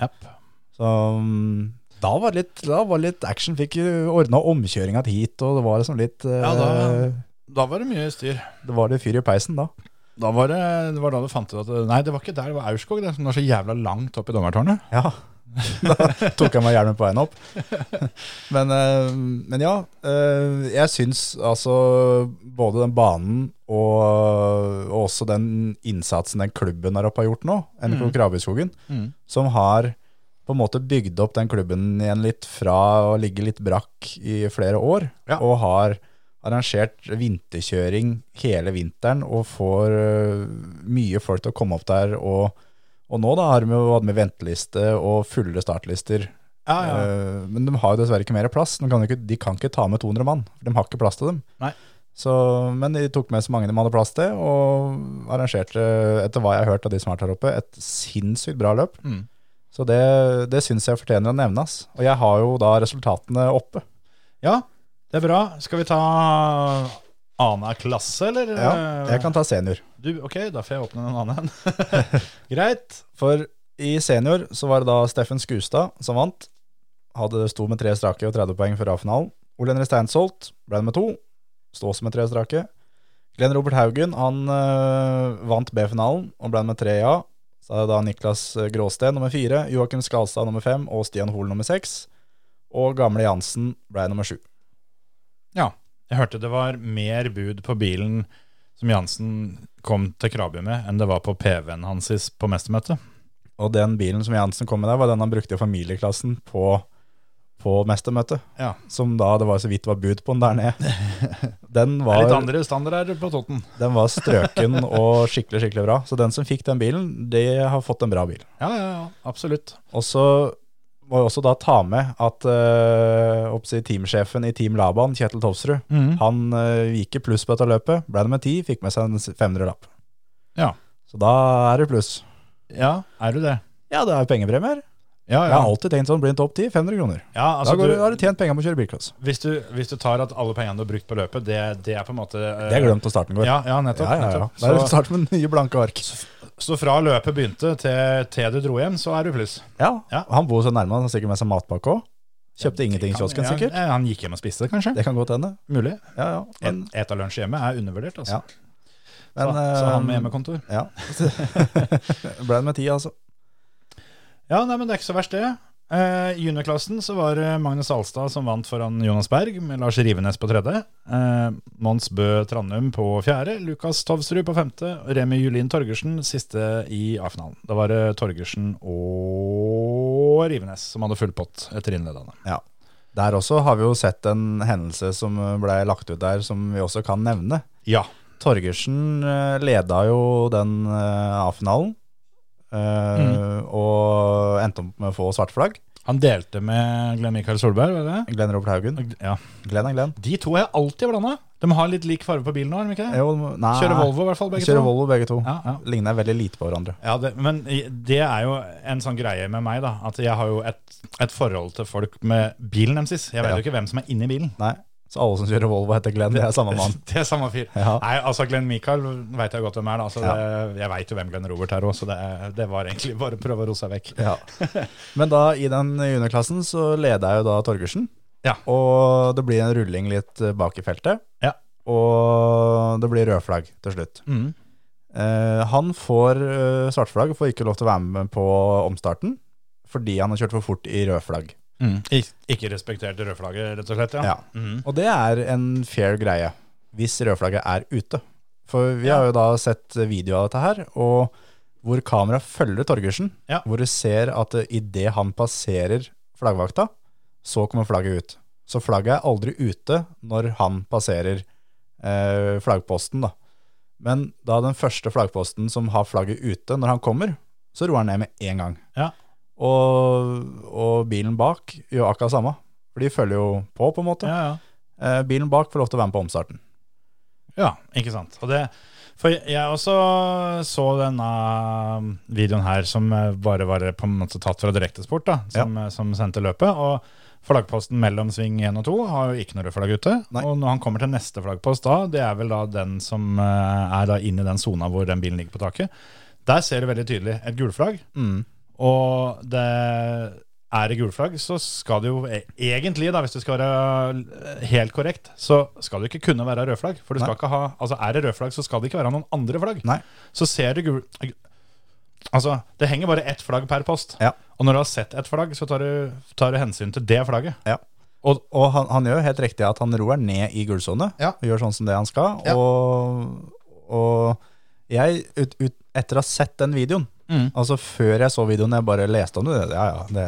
S4: ja. Så mm, da var det litt, da var det litt action. Fikk ordna omkjøringa til heat, og det var liksom litt
S3: Ja, da-
S4: eh,
S3: Da var det mye styr.
S4: Det var litt fyr i peisen da.
S3: Da var det, det var da du fant ut at Nei, det var ikke der, det var Aurskog. Det som var så jævla langt opp i dommertårnet.
S4: Ja. Da tok jeg meg hjelmen på veien opp. Men, eh, men ja, eh, jeg syns altså både den banen og, og også den innsatsen den klubben der oppe har gjort nå, NK Krabbøyskogen, som har på en måte bygd opp den klubben igjen litt fra å ligge litt brakk i flere år,
S3: Ja.
S4: og har arrangert vinterkjøring hele vinteren og får eh, mye folk til å komme opp der og og nå da har de jo hatt med venteliste og fulle startlister.
S3: Ja,
S4: Eh, Men de har jo dessverre ikke mer plass. De kan, jo ikke, de kan ikke ta med 200 mann. De har ikke plass til dem.
S3: Nei.
S4: Så, men de tok med så mange de hadde plass til, og arrangerte, etter hva jeg har hørt av de som har vært her oppe, et sinnssykt bra løp.
S3: Mm.
S4: Så det, det syns jeg fortjener å nevnes. Og jeg har jo da resultatene oppe.
S3: ja, det er bra. Skal vi ta Ana klasse, eller?
S4: Ja, jeg kan ta senior.
S3: Du, ok, da får jeg åpne en annen en. Greit.
S4: For i senior så var det da Steffen Skustad som vant. Hadde sto med tre strake og 30 poeng før A-finalen. Ole Henry Steinsholt ble det med to. Stå også med tre strake. Glenn Robert Haugen han øh, vant B-finalen og ble det med tre i A. Så er det da Niklas eh, Gråsten nummer fire, Joakim Skalstad nummer fem og Stian Hoel nummer seks. Og gamle Jansen ble nummer sju.
S3: Ja. Jeg hørte det var mer bud på bilen som Jansen kom til Krabi med, enn det var på PV-en hans i s- på mestermøtet.
S4: Og den bilen som Jansen kom med der, var den han brukte i familieklassen på, på mestermøtet.
S3: Ja.
S4: Som da det var så vidt var bud på den der nede. Den
S3: Det er litt
S4: var,
S3: andre standarder på Totten.
S4: den var strøken og skikkelig, skikkelig bra. Så den som fikk den bilen, de har fått en bra bil.
S3: Ja, ja, ja, absolutt.
S4: Og så må jeg også da ta med at eh, oppsi, teamsjefen i Team Laban, Kjetil Tofsrud,
S3: Mm.
S4: han eh, gikk i pluss på dette løpet, ble nummer 10, fikk med seg en 500-lapp.
S3: Ja.
S4: Så da er det pluss.
S3: Ja, er du det?
S4: Ja, det er pengepremier.
S3: Ja,
S4: Jeg
S3: ja.
S4: har alltid tenkt sånn, blir en topp 10, 500 kroner.
S3: ja altså,
S4: da går, du,
S3: du,
S4: har du tjent penger på å kjøre bilcross.
S3: hvis, du, hvis du tar at alle pengene du har brukt på løpet, det, det er på en måte eh,
S4: Det er glemt når starten går.
S3: Ja, ja, nettopp.
S4: ja, ja, ja.
S3: nettopp.
S4: Da er det
S3: Så,
S4: start med nye blanke ark.
S3: så fra løpet begynte til, til du dro hjem, så er du pluss.
S4: Ja,
S3: Ja.
S4: Han bor så nærme, han har sikkert med seg matpakke òg. Kjøpte ingenting i kiosken,
S3: Ja,
S4: sikkert.
S3: ja, han gikk hjem og spiste, kanskje.
S4: Det kan godt hende.
S3: Mulig.
S4: Ja, ja. Men,
S3: Et- Et av lunsj hjemme er undervurdert, altså.
S4: Ja. men,
S3: så, så han med
S4: eh,
S3: hjemmekontor.
S4: Ja. Ble det med ti, altså.
S3: Ja, nei, men det er ikke så verst det. Eh, I juniorklassen så var det Magnus Alstad som vant foran Jonas Berg, med Lars Rivenes på tredje. Eh, Mons Bø Trandum på fjerde. Lukas Tovsrud på femte. og Remi Julin Torgersen siste i A-finalen. Da var det Torgersen og Rivenes som hadde full pott etter innledende.
S4: Ja. Der også har vi jo sett en hendelse som ble lagt ut der, som vi også kan nevne.
S3: Ja.
S4: Torgersen eh, leda jo den eh, A-finalen, eh,
S3: Mm.
S4: og endte opp med å få svarte flagg.
S3: Han delte med Glenn Mikael Solberg, var det det?
S4: Glenn Robert Haugen.
S3: Ja.
S4: Glenn er Glenn.
S3: De to er alltid blanda. De har litt lik farge på bilen nå, har de ikke det?
S4: Jo, nei,
S3: Kjører Volvo, i hvert fall, begge
S4: Kjører
S3: to.
S4: Volvo, begge to.
S3: Ja, ja.
S4: Ligner veldig lite på hverandre.
S3: Ja, det, men i- det er jo en sånn greie med meg, da. At jeg har jo et, et forhold til folk med bilen deres. Jeg vet
S4: Ja.
S3: jo ikke hvem som er inni bilen.
S4: Nei, Så alle som kjører Volvo, heter Glenn. Det er samme mann.
S3: Det er samme fyr.
S4: Ja.
S3: Nei, altså Glenn Michael veit jeg godt hvem er, da. Så det, jeg veit jo hvem Glenn Robert er òg, så det, er- det var egentlig bare å prøve å roe seg vekk.
S4: Ja. Men da i den juniorklassen så leda jo da Torgersen.
S3: Ja.
S4: Og det blir en rulling litt eh, bak i feltet.
S3: Ja.
S4: Og det blir rødflagg til slutt.
S3: Mm.
S4: Eh, han får eh, svart flagg og får ikke lov til å være med på omstarten fordi han har kjørt for fort i rød flagg.
S3: Ik ikke respekterte rødflagget, rett og slett? Ja.
S4: Ja.
S3: Mhm.
S4: Og det er en fair greie hvis rødflagget er ute. For vi har jo da sett video av dette her, og hvor kamera følger Torgersen,
S3: Ja.
S4: hvor du ser at eh, idet han passerer flaggvakta, så kommer flagget ut. Så flagget er aldri ute når han passerer eh, flaggposten, da. Men da den første flaggposten som har flagget ute, når han kommer, så roer han ned med en gang.
S3: Ja.
S4: Og, og bilen bak gjør akkurat samme, for de følger jo på, på en måte.
S3: ja, ja.
S4: Eh, bilen bak får lov til å være med på omstarten.
S3: Ja, ikke sant. Og det, for jeg også så denne um, videoen her som eh, bare var på en måte tatt fra direktesport, da, som, eh, som sendte løpet. Og flaggposten mellom sving 1 og 2 har jo ikke noe rødt flagg ute.
S4: Nei.
S3: Og når han kommer til neste flaggpost da, det er vel da den som eh, er da inne i den sona hvor den bilen ligger på taket, der ser du veldig tydelig et gulflagg.
S4: mm.
S3: Og det er det gulflagg, så skal det jo e- egentlig, da, hvis du skal være helt korrekt, så skal det jo ikke kunne være rødflagg. For du skal
S4: Nei.
S3: ikke ha, altså er det rødflagg, så skal det ikke være noen andre flagg.
S4: Nei.
S3: Så ser du gul... Altså, det henger bare ett flagg per post.
S4: Ja.
S3: Og når du har sett ett flagg, så tar du, tar du hensyn til det flagget.
S4: Ja. Og, og han, han gjør helt riktig at han roer ned i gulsone
S3: Ja.
S4: og gjør sånn som det han skal.
S3: Ja.
S4: Og, og jeg, ut, ut, etter å ha sett den videoen,
S3: Mm.
S4: altså før jeg så videoen, jeg bare leste om det, ja, ja, det,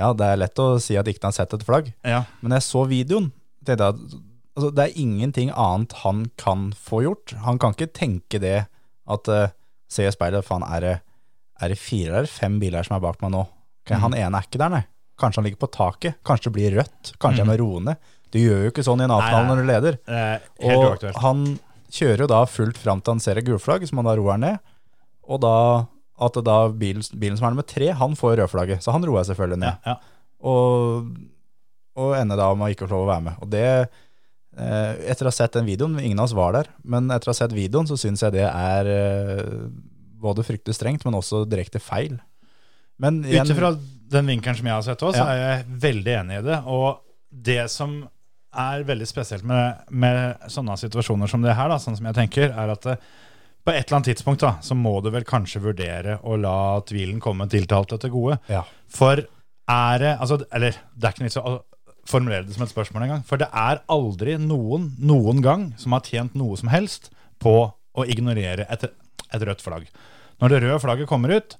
S4: ja, det er lett å si at ikke han har sett et flagg.
S3: Ja.
S4: Men jeg så videoen, tenkte jeg at altså, det er ingenting annet han kan få gjort. Han kan ikke tenke det at eh, se i speilet, faen, er det, er det fire eller fem biler som er bak meg nå? Ok,
S3: Mhm.
S4: Han ene er ikke der, nei. Kanskje han ligger på taket, kanskje det blir rødt, kanskje jeg må roe ned. Du gjør jo ikke sånn i en
S3: Mhm. Nei, nei,
S4: avtale når du leder.
S3: Det er helt
S4: Og
S3: uaktuelt.
S4: han kjører jo da fullt fram til han ser et gulflagg, som han da roer ned. Og da at da bilen, bilen som er nummer tre, han får rødflagget, så han roer selvfølgelig ned
S3: Ja, ja.
S4: og, og ender da med å ikke få lov å være med. Og det, eh, etter å ha sett den videoen, ingen av oss var der, men etter å ha sett videoen så syns jeg det er eh, både fryktelig strengt, men også direkte feil. Men igjen-
S3: Ut ifra den vinkelen som jeg har sett òg, så
S4: Ja.
S3: er jeg veldig enig i det. Og det som er veldig spesielt med, med sånne situasjoner som det her, da, sånn som jeg tenker, er at eh, på et eller annet tidspunkt da, så må du vel kanskje vurdere å la tvilen komme tiltalte til gode.
S4: Ja.
S3: For er det altså, Eller det er ikke nytt å formulere det som et spørsmål engang. For det er aldri noen noen gang som har tjent noe som helst på å ignorere et, et rødt flagg. Når det røde flagget kommer ut,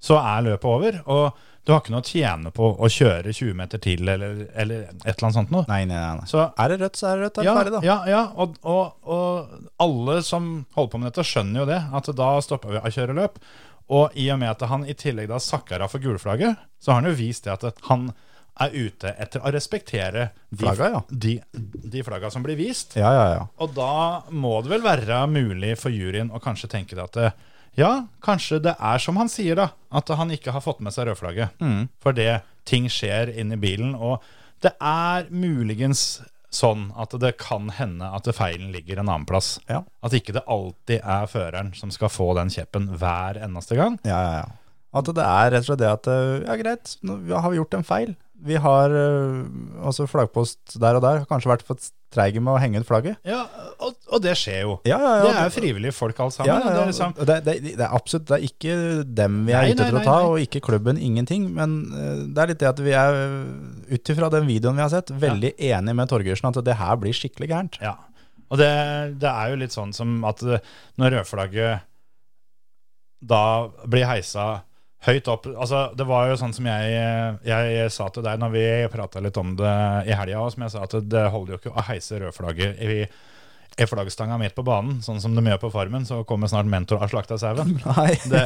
S3: så er løpet over. Og du har ikke noe å tjene på å kjøre 20 meter til eller, eller et eller annet sånt noe.
S4: Nei, nei, nei. nei.
S3: Så
S4: Er det rødt, så er det rødt. Er det
S3: ja,
S4: ferdig, da?
S3: ja, ja. Og, og, og alle som holder på med dette, skjønner jo det. At da stopper vi å kjøre løp. Og i og med at han i tillegg da sakker av for gulflagget, så har han jo vist det at han er ute etter å respektere de,
S4: Flagga, ja.
S3: de, de flagga som blir vist.
S4: Ja, ja, ja.
S3: Og da må det vel være mulig for juryen å kanskje tenke det at eh, ja, kanskje det er som han sier, da. At han ikke har fått med seg rødflagget.
S4: Mm.
S3: For det, ting skjer inni bilen. Og det er muligens sånn at det kan hende at feilen ligger en annen plass.
S4: Ja.
S3: At ikke det alltid er føreren som skal få den kjeppen hver eneste gang.
S4: Ja, ja, ja. At det er rett og slett det at øh, ja, greit, nå har vi gjort en feil. Vi har eh, øh, altså flaggpost der og der, har kanskje vært for treige med å henge ut flagget.
S3: Ja, og, Og det skjer jo.
S4: Ja, ja, ja.
S3: Det er frivillige folk alt sammen.
S4: Ja, ja,
S3: Det
S4: ja.
S3: er liksom,
S4: Det, det, det er absolutt det er ikke dem vi er
S3: Nei,
S4: ute
S3: nei,
S4: etter å
S3: nei,
S4: ta,
S3: nei.
S4: og ikke klubben, ingenting. Men eh, det er litt det at vi er, eh, ut ifra den videoen vi har sett, veldig enig med Torgersen at det her blir skikkelig gærent.
S3: Ja. Og det, det er jo litt sånn som at eh, når rødflagget da blir heisa høyt opp Altså, det var jo sånn som jeg, jeg, sa til deg når vi prata litt om det i helga òg, som jeg sa at det holder jo ikke å heise rødflagget i, i flaggstanga midt på banen, sånn som de gjør på Farmen, så kommer snart mentor av slakta sauen.
S4: Nei.
S3: Det,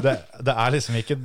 S3: det, det er liksom ikke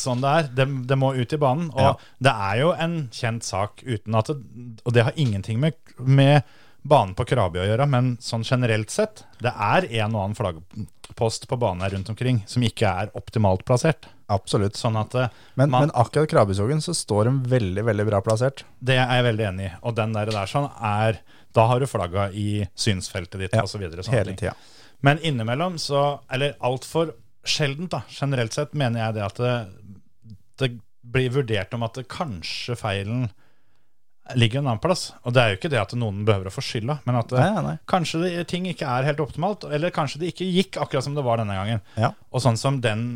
S3: sånn det er. Det, det må ut i banen. Og
S4: Ja.
S3: det er jo en kjent sak uten at det, Og det har ingenting med, med banen på Krabi å gjøre, men sånn generelt sett, det er en og annen flaggpost på banen her rundt omkring som ikke er optimalt plassert.
S4: Absolutt.
S3: Sånn at eh,
S4: Men,
S3: man,
S4: men akkurat Krabbeskogen så står de veldig, veldig bra plassert.
S3: Det er jeg veldig enig i. Og den der, der sånn er Da har du flagga i synsfeltet ditt,
S4: Ja,
S3: og så videre sånne
S4: Hele
S3: ting.
S4: tida.
S3: Men innimellom så Eller altfor sjeldent, da, generelt sett, mener jeg det at det, det blir vurdert om at det kanskje feilen ligger en annen plass. Og det er jo ikke det at noen behøver å få skylda, men at det,
S4: Nei, nei, nei.
S3: kanskje det, ting ikke er helt optimalt, eller kanskje det ikke gikk akkurat som det var denne gangen.
S4: Ja.
S3: Og sånn som den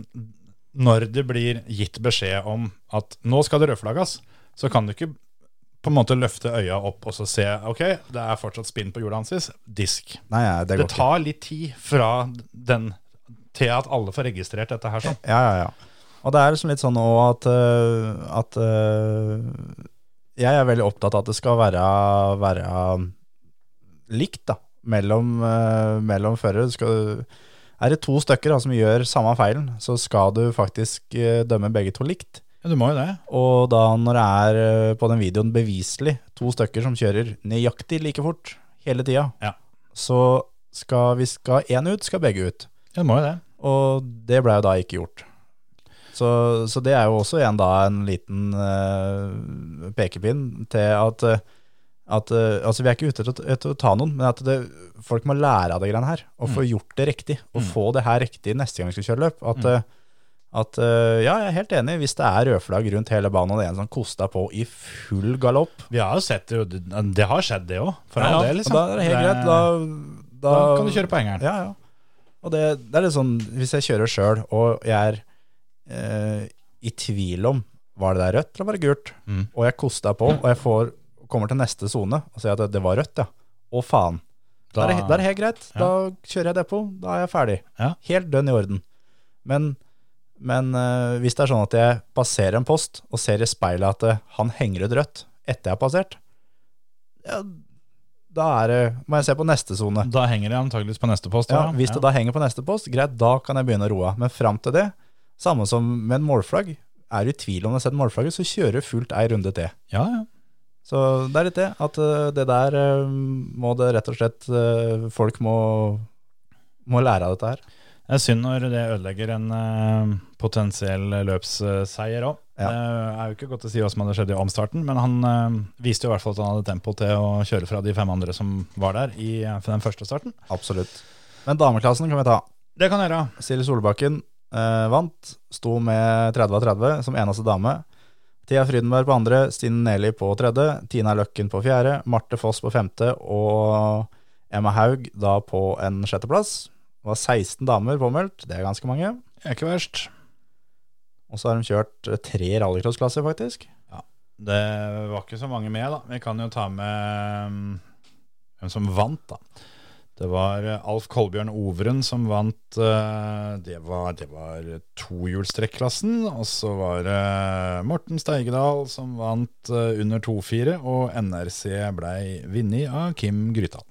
S3: Når det blir gitt beskjed om at nå skal det rødflagges, så kan du ikke på en måte løfte øya opp og så se ok, det er fortsatt spinn på jorda hans. Disk
S4: Nei, nei, det
S3: det,
S4: går ikke.
S3: tar litt tid fra den til at alle får registrert dette her sånn.
S4: Ja, ja, ja. Og det er liksom litt sånn nå at, øh, at øh, Jeg er veldig opptatt av at det skal være, være likt, da. Mellom, øh, mellom førere. Du skal- Er det to stykker da, som gjør samme feilen, så skal du faktisk øh, dømme begge to likt.
S3: Ja, du må jo det.
S4: Og da når det er øh, på den videoen beviselig to stykker som kjører nøyaktig like fort hele tida,
S3: Ja.
S4: så skal vi skal én ut, skal begge ut.
S3: Ja, du må jo det.
S4: Og det ble jo da ikke gjort. Så, så det er jo også igjen da en liten eh, pekepinn til at, eh, at eh, Altså, vi er ikke ute etter å, etter å ta noen, men at det, folk må lære av det greiene her. Og få gjort det riktig. Og få det her riktig neste gang vi skal kjøre løp. At, eh, at eh, Ja, jeg er helt enig. Hvis det er rødflagg rundt hele banen, og det er en som koster på i full galopp,
S3: Vi har jo sett det, jo, det det har skjedd det òg. For
S4: ja,
S3: all
S4: ja,
S3: del, liksom.
S4: da er det helt greit. Da, da,
S3: da kan du kjøre på hengeren.
S4: ja, ja. Og det, det er litt sånn, hvis jeg kjører sjøl, og jeg er eh, i tvil om var det der rødt eller var det gult,
S3: Mm.
S4: og jeg koster på, og jeg får, kommer til neste sone og sier at det, det var rødt, ja. Å faen. Da, er det, da er det helt greit.
S3: Ja.
S4: Da kjører jeg depot. Da er jeg ferdig.
S3: Ja.
S4: Helt dønn i orden. Men, men eh, hvis det er sånn at jeg passerer en post og ser i speilet at eh, han henger ut rødt etter jeg har passert, ja, da er det, må jeg se på neste sone.
S3: Da henger det antageligvis på neste post.
S4: Ja,
S3: da.
S4: hvis det da henger på neste post, greit, da kan jeg begynne å roe. av. Men fram til det, samme som med en målflagg, er du i tvil om du har sett målflagget, så kjører du fullt ei runde til.
S3: ja, ja.
S4: Så det er litt det, at eh, det der eh, må det rett og slett eh, Folk må, må lære av dette her.
S3: Det er synd når det ødelegger en eh, potensiell eh, løpsseier òg.
S4: Ja.
S3: Det er jo ikke godt å si hva som hadde skjedd i omstarten, men han eh, viste jo i hvert fall at han hadde tempo til å kjøre fra de fem andre som var der i eh, den første starten.
S4: Absolutt. Men dameklassen kan vi ta.
S3: Det kan jeg gjøre.
S4: Silje Solbakken eh, vant, sto med 30 av 30 som eneste dame. Thea Frydenberg på andre, Stine Neli på tredje, Tina Løkken på fjerde, Marte Foss på femte og Emma Haug da på en sjetteplass. Det var 16 damer påmeldt, det er ganske mange.
S3: Det er ikke verst.
S4: Og så har de kjørt eh, tre rallycrossklasser, faktisk.
S3: Det var ikke så mange med, da. Vi kan jo ta med um, hvem som vant, da. Det var eh, Alf Kolbjørn Overen som vant. eh, Det var, det var tohjulstrekklassen. Og så var det Morten Steigedal som vant eh, under 2-4. Og NRC blei vunnet av Kim Grytdal.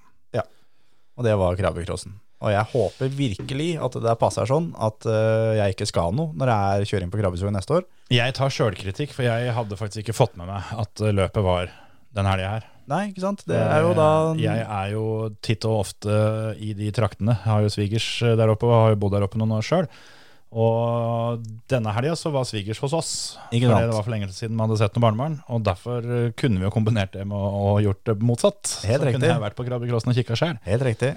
S4: Og det var krabbekrossen. Og jeg håper virkelig at det der passer sånn at eh, jeg ikke skal noe når det er kjøring på krabbeskogen neste år.
S3: Jeg tar sjølkritikk, for jeg hadde faktisk ikke fått med meg at eh, løpet var den helga her. Eh,
S4: Nei, ikke sant? Det er jo da
S3: Jeg er jo titt og ofte i de traktene. Jeg har jo svigers eh, der oppe, og har jo bodd der oppe noen år sjøl. Og denne helga så var svigers hos oss.
S4: Ikke
S3: Fordi
S4: sant.
S3: Det var for lenge siden vi hadde sett noen barnebarn. Og derfor eh, kunne vi jo kombinert det med å å gjort det motsatt.
S4: Helt
S3: så
S4: riktig.
S3: kunne jeg vært på krabbekrossen og kikka sjøl.
S4: Helt riktig.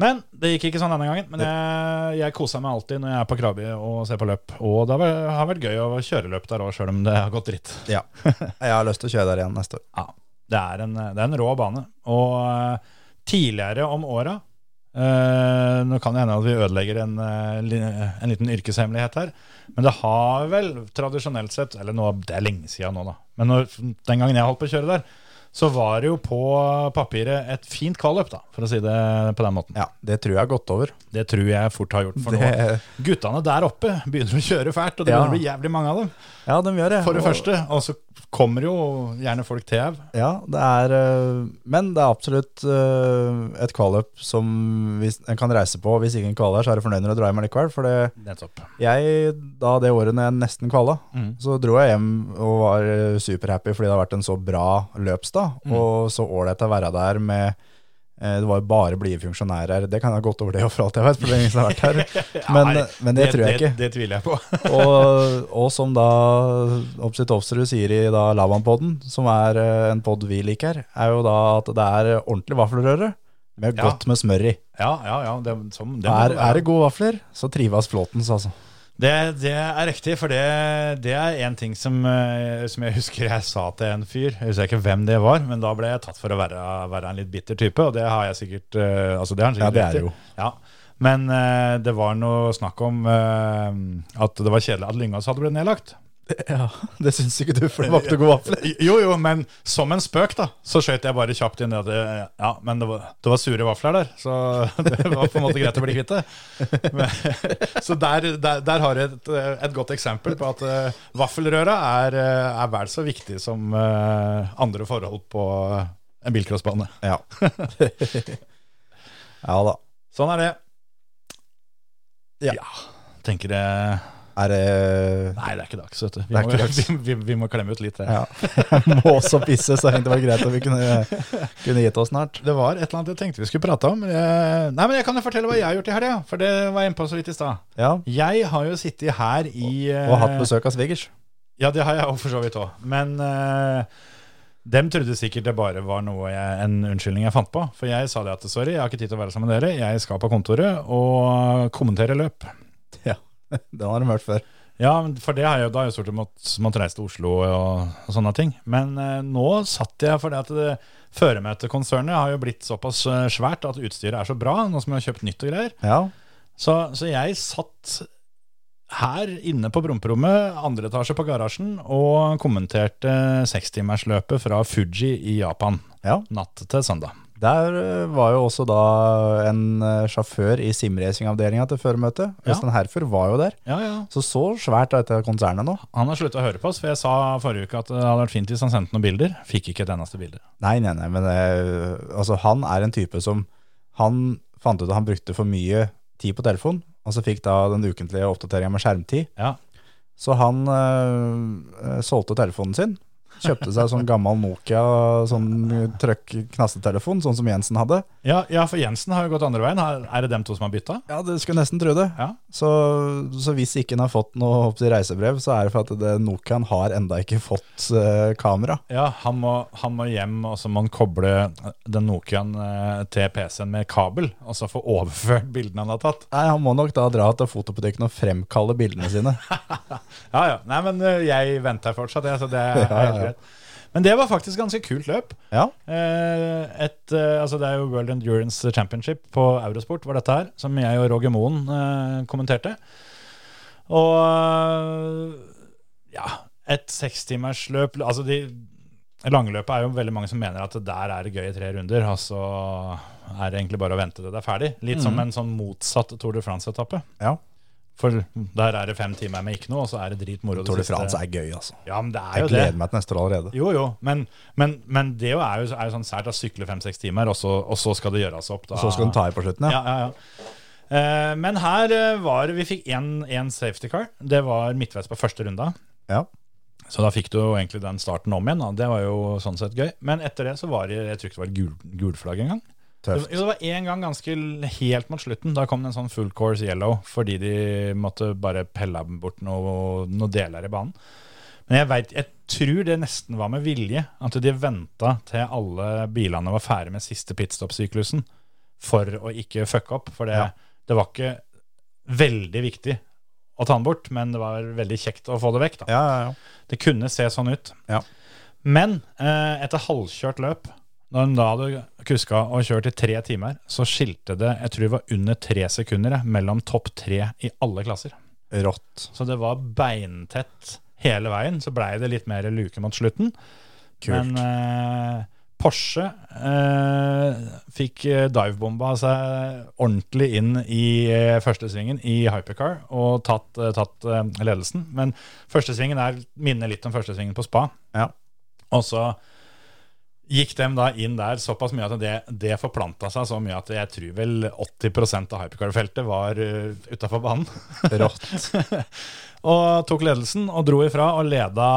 S3: Men det gikk ikke sånn denne gangen. Men jeg, jeg kosa meg alltid når jeg er på krabbe og ser på løp. Og det har vært- har vært gøy å kjøre løp der òg, sjøl om det har gått dritt.
S4: Ja. Jeg har lyst til å kjøre der igjen neste år.
S3: Ja, det er en, det er en rå bane. Og eh, tidligere om åra eh, Nå kan det hende at vi ødelegger en, eh, li- en liten yrkeshemmelighet her. Men det har vel tradisjonelt sett Eller nå, det er lenge siden nå, da. Men når, den gangen jeg holdt på å kjøre der, så var det jo på papiret et fint kvalløp, da, for å si det på den måten.
S4: Ja, det tror jeg har gått over.
S3: Det tror jeg fort har gjort. For nå,
S4: Det-
S3: guttene der oppe begynner å kjøre fælt, og det
S4: Ja.
S3: begynner å bli jævlig mange av dem.
S4: Ja, de gjør det.
S3: For det
S4: Og-
S3: første. Og så kommer jo gjerne folk til au.
S4: Ja, det er øh, Men det er absolutt øh, et kvalløp som hvis, en kan reise på. Hvis ingen kvaler, så er det fornøyd med å dra hjem likevel. For det,
S3: Nettopp.
S4: jeg, da det året når jeg nesten kvala,
S3: Mm.
S4: så dro jeg hjem og var eh, superhappy fordi det har vært en så bra løpsdag, og så ålreit å være der med eh, det var jo bare blide funksjonærer. Det kan jeg ha gått over det, og for alt jeg vet. For det er ingen som har vært her. Men, eh,
S3: Nei,
S4: men det, tror jeg ikke.
S3: Det, det tviler jeg på.
S4: Og, og som da Opsit Opsrud sier i da Lavan-podden, som er eh, en podd vi liker, er jo da at det er ordentlig vaffelrøre med
S3: Ja.
S4: godt med smør i.
S3: Ja, ja, ja. Det, som, det, må
S4: Er,
S3: det være.
S4: er det gode vafler, så trives Flåtens, altså.
S3: Det, det er riktig, for det, det er en ting som, eh, som jeg husker jeg sa til en fyr. Jeg husker ikke hvem det var, men da ble jeg tatt for å være, være en litt bitter type, og det har jeg sikkert eh, altså det har han
S4: Ja,
S3: sikkert
S4: det er
S3: rett i.
S4: det jo.
S3: Ja. Men eh, det var noe snakk om eh, at det var kjedelig at Lyngås hadde blitt nedlagt.
S4: Ja, det syns ikke du, for det var ikke noe god vafler.
S3: Jo, jo, men som en spøk, da, så skjøt jeg bare kjapt inn det at eh, Ja, men det var, det var sure vafler der, så det var på en måte greit å bli kvitt det. Men- Så der, der, der har du et, eh, et godt eksempel på at eh, vaffelrøra er, eh, er vel så viktig som eh, andre forhold på eh, en bilcrossbane.
S4: Ja. ja da.
S3: Sånn er det.
S4: Ja.
S3: Tenker det
S4: Er det
S3: Nei, det er ikke dags, vet du. Vi,
S4: Det er ikke
S3: må, vi, vi, vi må klemme ut litt. det.
S4: Ja. Jeg må også pisse, så jeg tenkte det var greit at vi kunne, kunne gitt oss snart.
S3: Det var et eller annet jeg tenkte vi skulle prate om. men jeg- Nei, men Jeg kan jo fortelle hva jeg har gjort i helga, for det var jeg inne på så vidt i stad.
S4: Ja.
S3: Jeg har jo sittet her i eh,
S4: Og hatt besøk av svigers.
S3: Ja, det har jeg jo for så vidt òg. Men eh, dem trodde sikkert det bare var noe jeg, en unnskyldning jeg fant på. For jeg sa det at sorry, jeg har ikke tid til å være sammen med dere. Jeg skal på kontoret og kommentere løp.
S4: Den har de hørt før.
S3: Ja, men for det har jeg, jo- da har jeg stort sett måttet måttet reise til Oslo og, og sånne ting. Men eh, nå satt jeg for det at det føremøtekonsernet har jo blitt såpass eh, svært at utstyret er så bra, nå som jeg har kjøpt nytt og greier.
S4: Ja.
S3: Så, så jeg satt her inne på promperommet, andre etasje på garasjen, og kommenterte eh, sekstimersløpet fra Fuji i Japan
S4: ja.
S3: natt til søndag.
S4: Der eh, var jo også da en eh, sjåfør i simracingavdelinga til føremøtet.
S3: Ja.
S4: Øystein Herfur var jo der.
S3: Ja, ja.
S4: Så så svært er dette konsernet nå.
S3: Han har slutta å høre på oss, for jeg sa forrige uke at eh, det hadde vært fint hvis han sendte noen bilder. Fikk ikke et eneste bilde.
S4: Nei, nei, nei, men eh, altså, han er en type som Han fant ut at han brukte for mye tid på telefon, og så fikk da den ukentlige oppdateringa med skjermtid.
S3: Ja.
S4: Så han eh, eh, solgte telefonen sin. Kjøpte seg sånn gammel Nokia, sånn trøkk-knastetelefon, sånn som Jensen hadde.
S3: Ja, ja, for Jensen har jo gått andre veien. Har- Er det dem to som har bytta?
S4: Ja, du skulle nesten tro det.
S3: Ja.
S4: Så, så hvis ikke han har fått noe opp til reisebrev, så er det for at det, Nokian har enda ikke fått eh, kamera.
S3: Ja, han må, han må hjem, og så må han koble den Nokiaen eh, til PC-en med kabel, og så få overført bildene han har tatt.
S4: Nei, han må nok da dra til fotobutikken og fremkalle bildene sine.
S3: Ja, ja. Nei, men ø, jeg venter fortsatt, jeg, så det er
S4: Ja, ja,
S3: helt
S4: ja.
S3: greit. Men det var faktisk ganske kult løp.
S4: Ja,
S3: Eh, Et, eh, altså det er jo World Endurance Championship på Eurosport var dette her, som jeg og Roger Moen eh, kommenterte. Og eh, ja, et sekstimersløp Altså de langløpet er jo veldig mange som mener at der er det gøy i tre runder, og så er det egentlig bare å vente til det er ferdig. Litt
S4: Mhm.
S3: som en sånn motsatt Tour de France-etappe.
S4: Ja.
S3: For der er det fem timer med ikke noe, og så er det dritmoro. det
S4: Tour de
S3: siste-
S4: France er gøy, altså.
S3: Ja, men det er
S4: Jeg
S3: jo det.
S4: gleder meg til neste år allerede.
S3: Jo, jo, men, men, men det jo er jo, er jo sånn sært å sykle fem-seks timer, og så, og så skal det gjøres opp. Da.
S4: Og så skal den ta i på slutten,
S3: ja.
S4: ja.
S3: Ja, ja, Eh, men her eh, var Vi fikk én safety car. Det var midtveis på første runda.
S4: Ja,
S3: Så da fikk du jo egentlig den starten om igjen. Da. Det var jo sånn sett gøy. Men etter det så var det Jeg tror ikke det var et gul, gulflagg engang. Det,
S4: tøft.
S3: jo, det var én gang ganske l- helt mot slutten. Da kom det en sånn full course yellow fordi de måtte bare pelle bort noe- noen deler i banen. Men jeg, vet, jeg tror det nesten var med vilje at de venta til alle bilene var ferdig med siste pitstop-syklusen for å ikke fucke opp. For det,
S4: Ja.
S3: det var ikke veldig viktig å ta den bort, men det var veldig kjekt å få det vekk. da.
S4: Ja, ja, ja.
S3: Det kunne se sånn ut.
S4: Ja.
S3: Men eh, etter halvkjørt løp, Når de da hadde kuska og kjørt i tre timer, så skilte det jeg tror det var under tre sekunder jeg, mellom topp tre i alle klasser.
S4: Rått.
S3: Så det var beintett hele veien. Så blei det litt mer luke mot slutten.
S4: Kult.
S3: Men eh, Porsche eh, fikk eh, divebomba seg ordentlig inn i eh, første svingen i hypercar og tatt, eh, tatt eh, ledelsen. Men første svingen er, minner litt om første svingen på spa.
S4: Ja.
S3: Og så gikk de da inn der såpass mye at det, det forplanta seg så mye at jeg tror vel 80 av hypercar-feltet var uh, utafor banen.
S4: Rått.
S3: og tok ledelsen og dro ifra og leda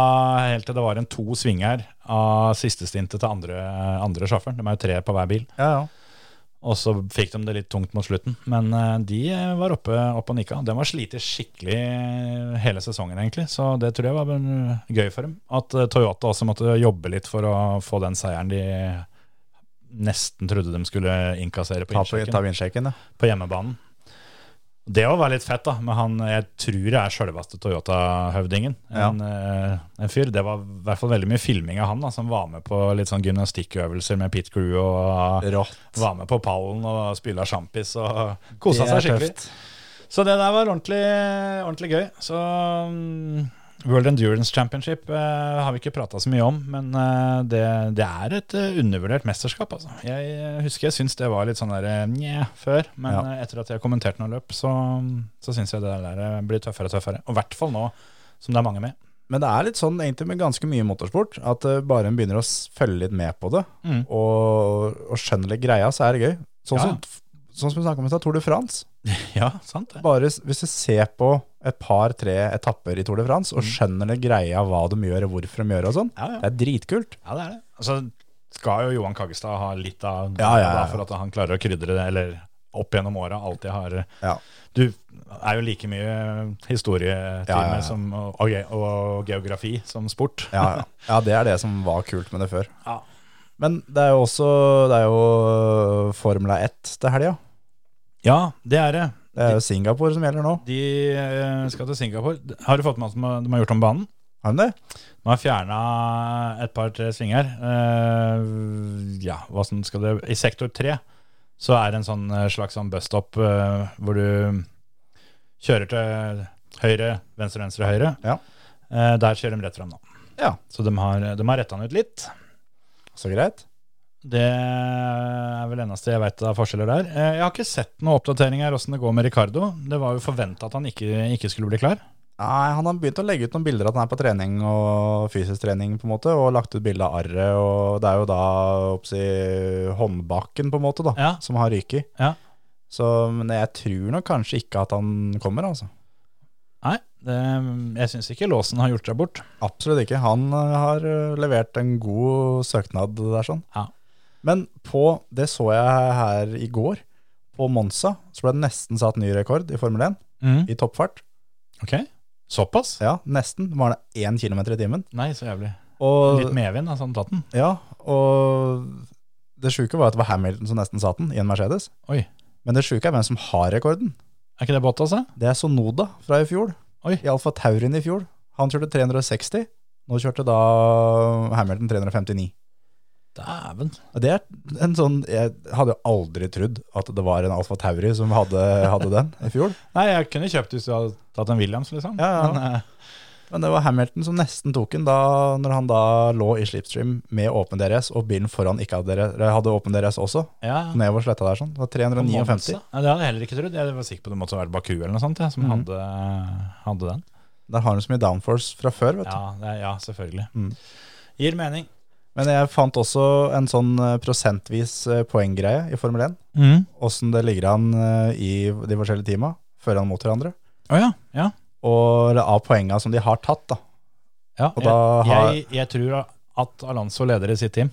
S3: helt til det var en to svinger av siste stintet til andre, andre sjåføren. De er jo tre på hver bil.
S4: Ja, ja.
S3: Og så fikk de det litt tungt mot slutten. Men eh, de var oppe, oppe og nikka. De var slitet skikkelig hele sesongen, egentlig. Så det tror jeg var eh, gøy for dem. At eh, Toyota også måtte jobbe litt for å få den seieren de nesten trodde de skulle innkassere på
S4: Ta på-
S3: innsjekken
S4: ta vindsjekken, ja.
S3: på hjemmebanen. Det òg var litt fett, da. Men han, jeg tror det er sjølveste Toyota-høvdingen. En, eh, en fyr. Det var i hvert fall veldig mye filming av han, da, som var med på litt sånn gymnastikkøvelser med Pete Crew. Og
S4: Rått.
S3: var med på pallen og spilla sjampis og
S4: Det
S3: kosa
S4: er
S3: seg skikkelig.
S4: tøft.
S3: Så det der var ordentlig, ordentlig gøy. Så mm, World Endurance Championship eh, har vi ikke prata så mye om, men eh, det, det er et eh, undervurdert mesterskap, altså. Jeg eh, husker jeg syns det var litt sånn der eh, nje før, men
S4: Ja.
S3: eh, etter at jeg har kommentert noen løp, så, så syns jeg det der eh, blir tøffere og tøffere. Og i hvert fall nå som det er mange med.
S4: Men det er litt sånn egentlig med ganske mye motorsport, at eh, bare en begynner å s- følge litt med på det,
S3: Mm.
S4: og, og skjønner litt greia, så er det gøy. Sånn,
S3: Ja, ja.
S4: som, sånn som vi snakket om i stad, Tour de France.
S3: Ja, sant det.
S4: Bare s- hvis du ser på et par-tre etapper i Tour de France, og skjønner litt greia hva de gjør, og hvorfor de gjør det og sånn,
S3: Mm. Ja, ja.
S4: det er dritkult.
S3: Ja, det er det. Altså, skal jo Johan Kaggestad ha litt av
S4: Ja, ja, ja.
S3: for at han klarer å krydre det, eller opp gjennom åra alltid har eh,
S4: Ja.
S3: Du er jo like mye historietime
S4: Ja, ja, ja.
S3: Som, og, og, ge- og geografi som sport.
S4: Ja, ja. ja, det er det som var kult med det før.
S3: Ja.
S4: Men det er jo også det er jo Formula 1 til helga.
S3: Ja, det er det.
S4: Det er jo Singapore som gjelder nå.
S3: De eh, skal til Singapore. Har du fått med at de har gjort om banen?
S4: Har de det?
S3: De har fjerna et par-tre svinger. Eh, ja, hva som skal det I sektor tre så er det en sånn eh, slags sånn busstop eh, hvor du kjører til høyre, venstre, venstre, høyre.
S4: Ja.
S3: Eh, der kjører de rett fram nå.
S4: Ja.
S3: Så de har, de har retta den ut litt.
S4: Så greit.
S3: Det er vel eneste jeg veit av forskjeller der. Eh, jeg har ikke sett noen oppdateringer åssen det går med Ricardo. Det var jo forventa at han ikke, ikke skulle bli klar.
S4: Nei, Han har begynt å legge ut noen bilder at han er på trening og fysisk trening, på en måte, og lagt ut bilde av arret. og Det er jo da oppsi, håndbaken på en måte da,
S3: Ja.
S4: som har ryket.
S3: Ja.
S4: Så, men jeg tror nok kanskje ikke at han kommer. altså.
S3: Nei, det, jeg syns ikke Låsen har gjort seg bort.
S4: Absolutt ikke. Han eh, har eh, levert en god søknad der. sånn.
S3: Ja.
S4: Men på, det så jeg her i går, på Monza, så ble det nesten satt ny rekord i Formel 1, i toppfart.
S3: Ok, såpass?
S4: Ja, nesten. Det var det én kilometer i timen.
S3: Nei, så jævlig.
S4: Og,
S3: Litt medvind, altså, han tatt den.
S4: Ja, og det sjuke var at det var Hamilton som nesten satt den i en Mercedes.
S3: Oi,
S4: Men det sjuke er hvem som har rekorden.
S3: er ikke det båt, altså?
S4: Det er Sonoda fra i fjor.
S3: Oi.
S4: I Alfa Taurin i fjor. Han kjørte 360. Nå kjørte da Hamilton 359.
S3: Dæven.
S4: Og Det er en sånn Jeg hadde jo aldri trodd at det var en Alfa Tauri som hadde, hadde den i fjor.
S3: Nei, jeg kunne kjøpt hvis du hadde tatt en Williams, liksom.
S4: Ja, ja.
S3: Men, eh,
S4: Men det var Hamilton som nesten tok den da når han da lå i slipstream med åpen DRS, og bilen foran ikke hadde, DRS eller hadde åpen DRS også.
S3: ja.
S4: Nedover sletta der sånn. Det var 359.
S3: Monza? Nei, det hadde jeg heller ikke trodd. Jeg var sikker på det måtte være Baku eller noe sånt, jeg, som
S4: Mhm.
S3: hadde, hadde den.
S4: Der har han så mye downforce fra før, vet du.
S3: altså. Ja, det, er- ja selvfølgelig.
S4: Mhm.
S3: Gir mening.
S4: Men jeg fant også en sånn eh, prosentvis eh, poenggreie i Formel 1.
S3: Mhm.
S4: Åssen det ligger an eh, i de forskjellige teama før han mot hverandre.
S3: Å ja, ja.
S4: Og av poenga som de har tatt, da.
S3: ja.
S4: Og da
S3: jeg,
S4: har-
S3: jeg, jeg tror at Alonso leder i sitt team.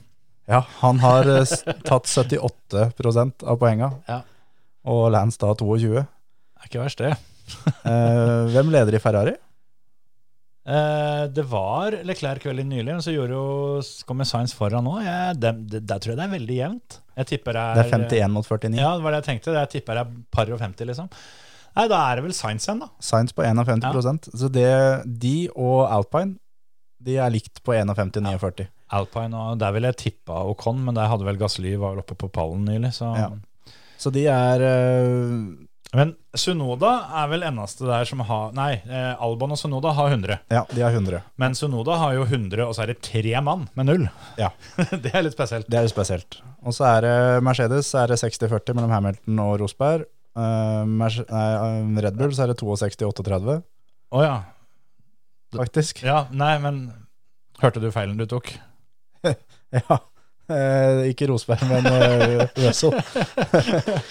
S4: Ja, han har eh, s- tatt 78 av poenga.
S3: Ja.
S4: Og Lance da 22.
S3: Det er ikke verst, det.
S4: Eh, hvem leder i Ferrari?
S3: Eh, det var Leclerc veldig nylig, men så gjorde jo, kommer Sainz foran nå. Jeg, dem- det, der tror jeg det er veldig jevnt. Jeg tipper det
S4: Det
S3: er
S4: er 51 mot 49.
S3: Ja, det var det jeg tenkte. Jeg tipper det er par og 50, liksom. Nei, da er det vel Sainz igjen, da.
S4: Sainz på 51 Så det, de og Alpine de er likt på 51-49.
S3: Alpine og Der ville jeg tippa Ocon, men der hadde vel Gasly var vel oppe på pallen nylig. Så.
S4: Ja. Så de er eh,
S3: Men Sunoda er vel eneste der som har Nei, eh, Albon og Sunoda har 100.
S4: Ja, de er 100.
S3: Men Sunoda har jo 100, og så er det tre mann med null.
S4: Ja.
S3: det er litt spesielt.
S4: Det er jo spesielt. Og så er det Mercedes så er det 60-40 mellom Hamilton og Rosberg. Eh, Merce- nei, eh, Red Bull så er det 62-38,
S3: Å ja.
S4: faktisk.
S3: ja. Nei, men Hørte du feilen du tok?
S4: Ja. Eh, ikke Rosberg, men eh, Russell.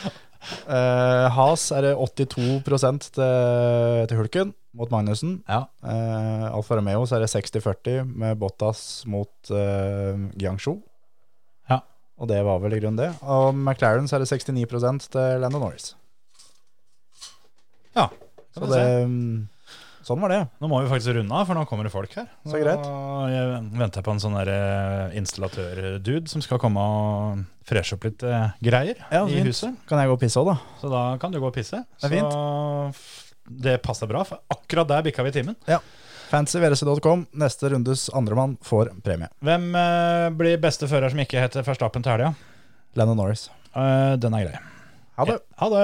S4: eh, Has er det 82 til, til Hulken mot Magnussen.
S3: Ja.
S4: Eh, Alfa Romeo så er det 60-40 med Bottas mot eh, Guangzhou.
S3: Ja.
S4: Og det var vel i grunnen det. Og McLaren så er det 69 til Lando Norris.
S3: Ja,
S4: Så det, sånn var det.
S3: Nå må vi faktisk runde av, for nå kommer det folk her.
S4: Så greit.
S3: Og jeg venter på en sånn der, eh, installatør-dude som skal komme og freshe opp litt eh, greier
S4: Ja,
S3: i
S4: fint.
S3: huset.
S4: Kan jeg gå og pisse òg, da?
S3: Så da kan du gå og pisse.
S4: Det er
S3: Så f- det passer bra, for akkurat der bikka vi timen.
S4: Fancyvrc.com. Neste rundes andremann får premie.
S3: Hvem eh, blir beste fører som ikke heter Verstappen til helga?
S4: Lando Norris.
S3: Eh, den er grei.
S4: Ha det.
S3: Ha det!